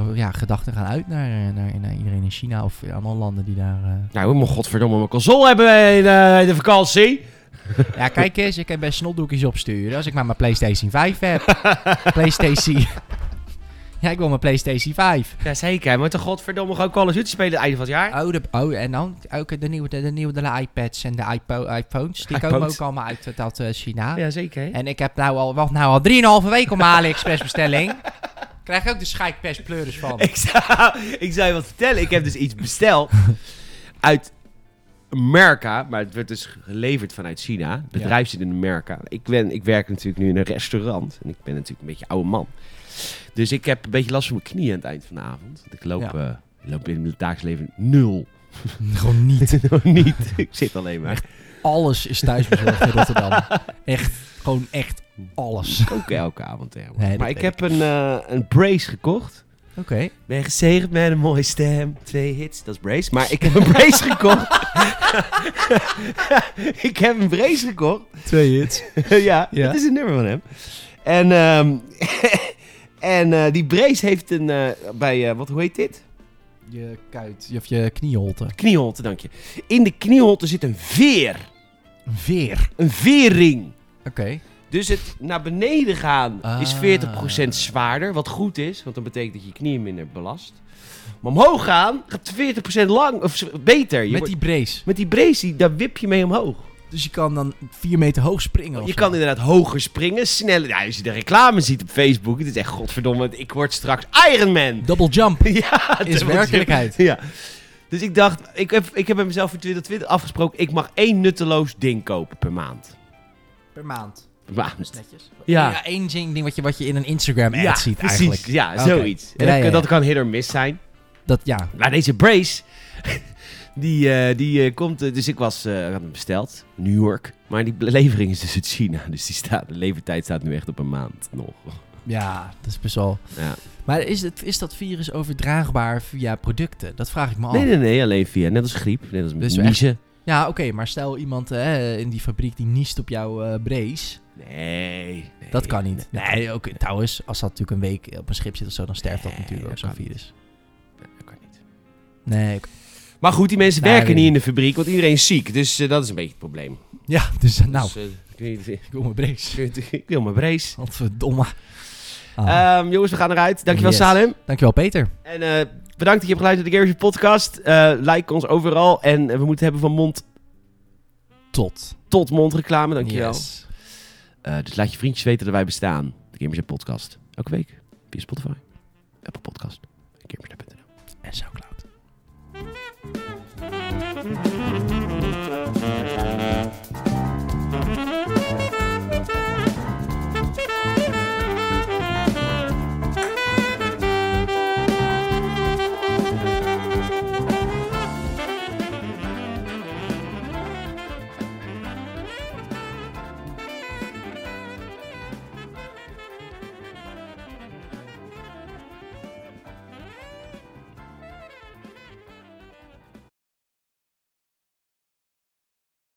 eh, ja, gedachten gaan uit naar, naar, naar iedereen in China of in allemaal landen die daar... eh, Nou, we mogen godverdomme mijn console hebben in eh, de vakantie. Ja, kijk eens, ik kan best snotdoekjes opsturen als ik maar mijn PlayStation 5 heb. PlayStation. Ja, ik wil mijn PlayStation 5. Jazeker, we moeten godverdomme gewoon Call of Duty spelen het einde van het jaar. Oh, de, oh en dan ook de nieuwe, de, de nieuwe de iPads en de iPo- iPhones. Die komen iPodes. ook allemaal uit eh, dat eh, China. Jazeker. En ik heb nou al, wacht nou al 3,5 week op mijn AliExpress bestelling. Krijg ik ook de scheikpest pleuris van. Ik zou, ik zou je wat vertellen. Ik heb dus iets besteld uit Amerika. Maar het werd dus geleverd vanuit China. Het bedrijf zit in Amerika. Ik, ben, ik werk natuurlijk nu in een restaurant. En ik ben natuurlijk een beetje oude man. Dus ik heb een beetje last van mijn knieën aan het eind van de avond. Want ik loop, Ja. eh, ik loop in mijn dagelijks leven nul. Gewoon niet. Niet. Ik zit alleen maar. Alles is thuisbezorgd in Rotterdam. Echt, gewoon echt alles. Ook elke avond tegenwoordig. Nee, dat maar ik weet heb een, eh, een brace gekocht. Oké. Ben gezegend met een mooie stem. Twee hits, dat is brace. Maar ik heb een brace gekocht. ik heb een brace gekocht. Twee hits. ja, Ja. dat is een nummer van hem. En, ehm, en eh, die brace heeft een... eh, bij, eh, wat, hoe heet dit? Je kuit, of je knieholte. Knieholte, dank je. In de knieholte zit een veer. Een veer. Een veerring. Oké. Dus het naar beneden gaan is Ah. 40% zwaarder, wat goed is, want dat betekent dat je knieën minder belast. Maar omhoog gaan gaat 40% lang, of z- beter. Je Met wordt- die brace. met die brace, die- daar wip je mee omhoog. Dus je kan dan vier meter hoog springen. of Je zo. kan inderdaad hoger springen, sneller. Ja, als je de reclame ziet op Facebook, het is echt godverdomme, ik word straks Iron Man. Double jump. ja, Is dat- werkelijkheid. Ja. Dus ik dacht, ik heb, ik heb met mezelf voor 2020 afgesproken, ik mag één nutteloos ding kopen per maand. Per maand. Per maand. Netjes. Ja. Ja. één ding ding wat je, wat je in een Instagram ad ziet precies. eigenlijk. Ah, Ja, Oké. zoiets. En Ja, dat, ja, ja. dat kan hit or miss zijn. Dat, ja. Maar deze brace, die, eh, die eh, komt... eh, dus ik was, eh, had hem besteld, New York. Maar die levering is dus uit China. Dus die staat, de levertijd staat nu echt op een maand nog. Ja, dat is best wel... Ja. Maar is, het, is dat virus overdraagbaar via producten? Dat vraag ik me af. Nee, nee, nee, alleen via. Net als griep, net als Oh. Dus niezen. Ja, oké, maar stel iemand eh, in die fabriek die niest op jouw eh brace. Nee, nee. Dat kan niet. Nee, oké, trouwens, als dat natuurlijk een week op een schip zit of zo, dan sterft dat Nee, natuurlijk ook dat zo'n kan niet. virus. Nee, dat kan niet. Nee, oké. Maar goed, die mensen Nee, werken weet niet ik in de fabriek, want iedereen is ziek. Dus eh, dat is een beetje het probleem. ja, dus eh, nou, Dus, eh, ik, weet- ik ik wil mijn brace. weet- ik wil mijn brace. Godverdomme. Ah, Ehm, jongens, we gaan eruit. Dankjewel, Yes. Salem. dankjewel, Peter. En eh, bedankt dat je hebt geluisterd naar de Garage Podcast. Eh, like ons overal. En eh, we moeten hebben van mond Tot. tot mond reclame. Dankjewel. Yes. Eh, dus laat je vriendjes weten dat wij bestaan. De Gamers Podcast. Elke week. Via Spotify. Apple Podcast. en Gamersnet.nl. En zo klaar.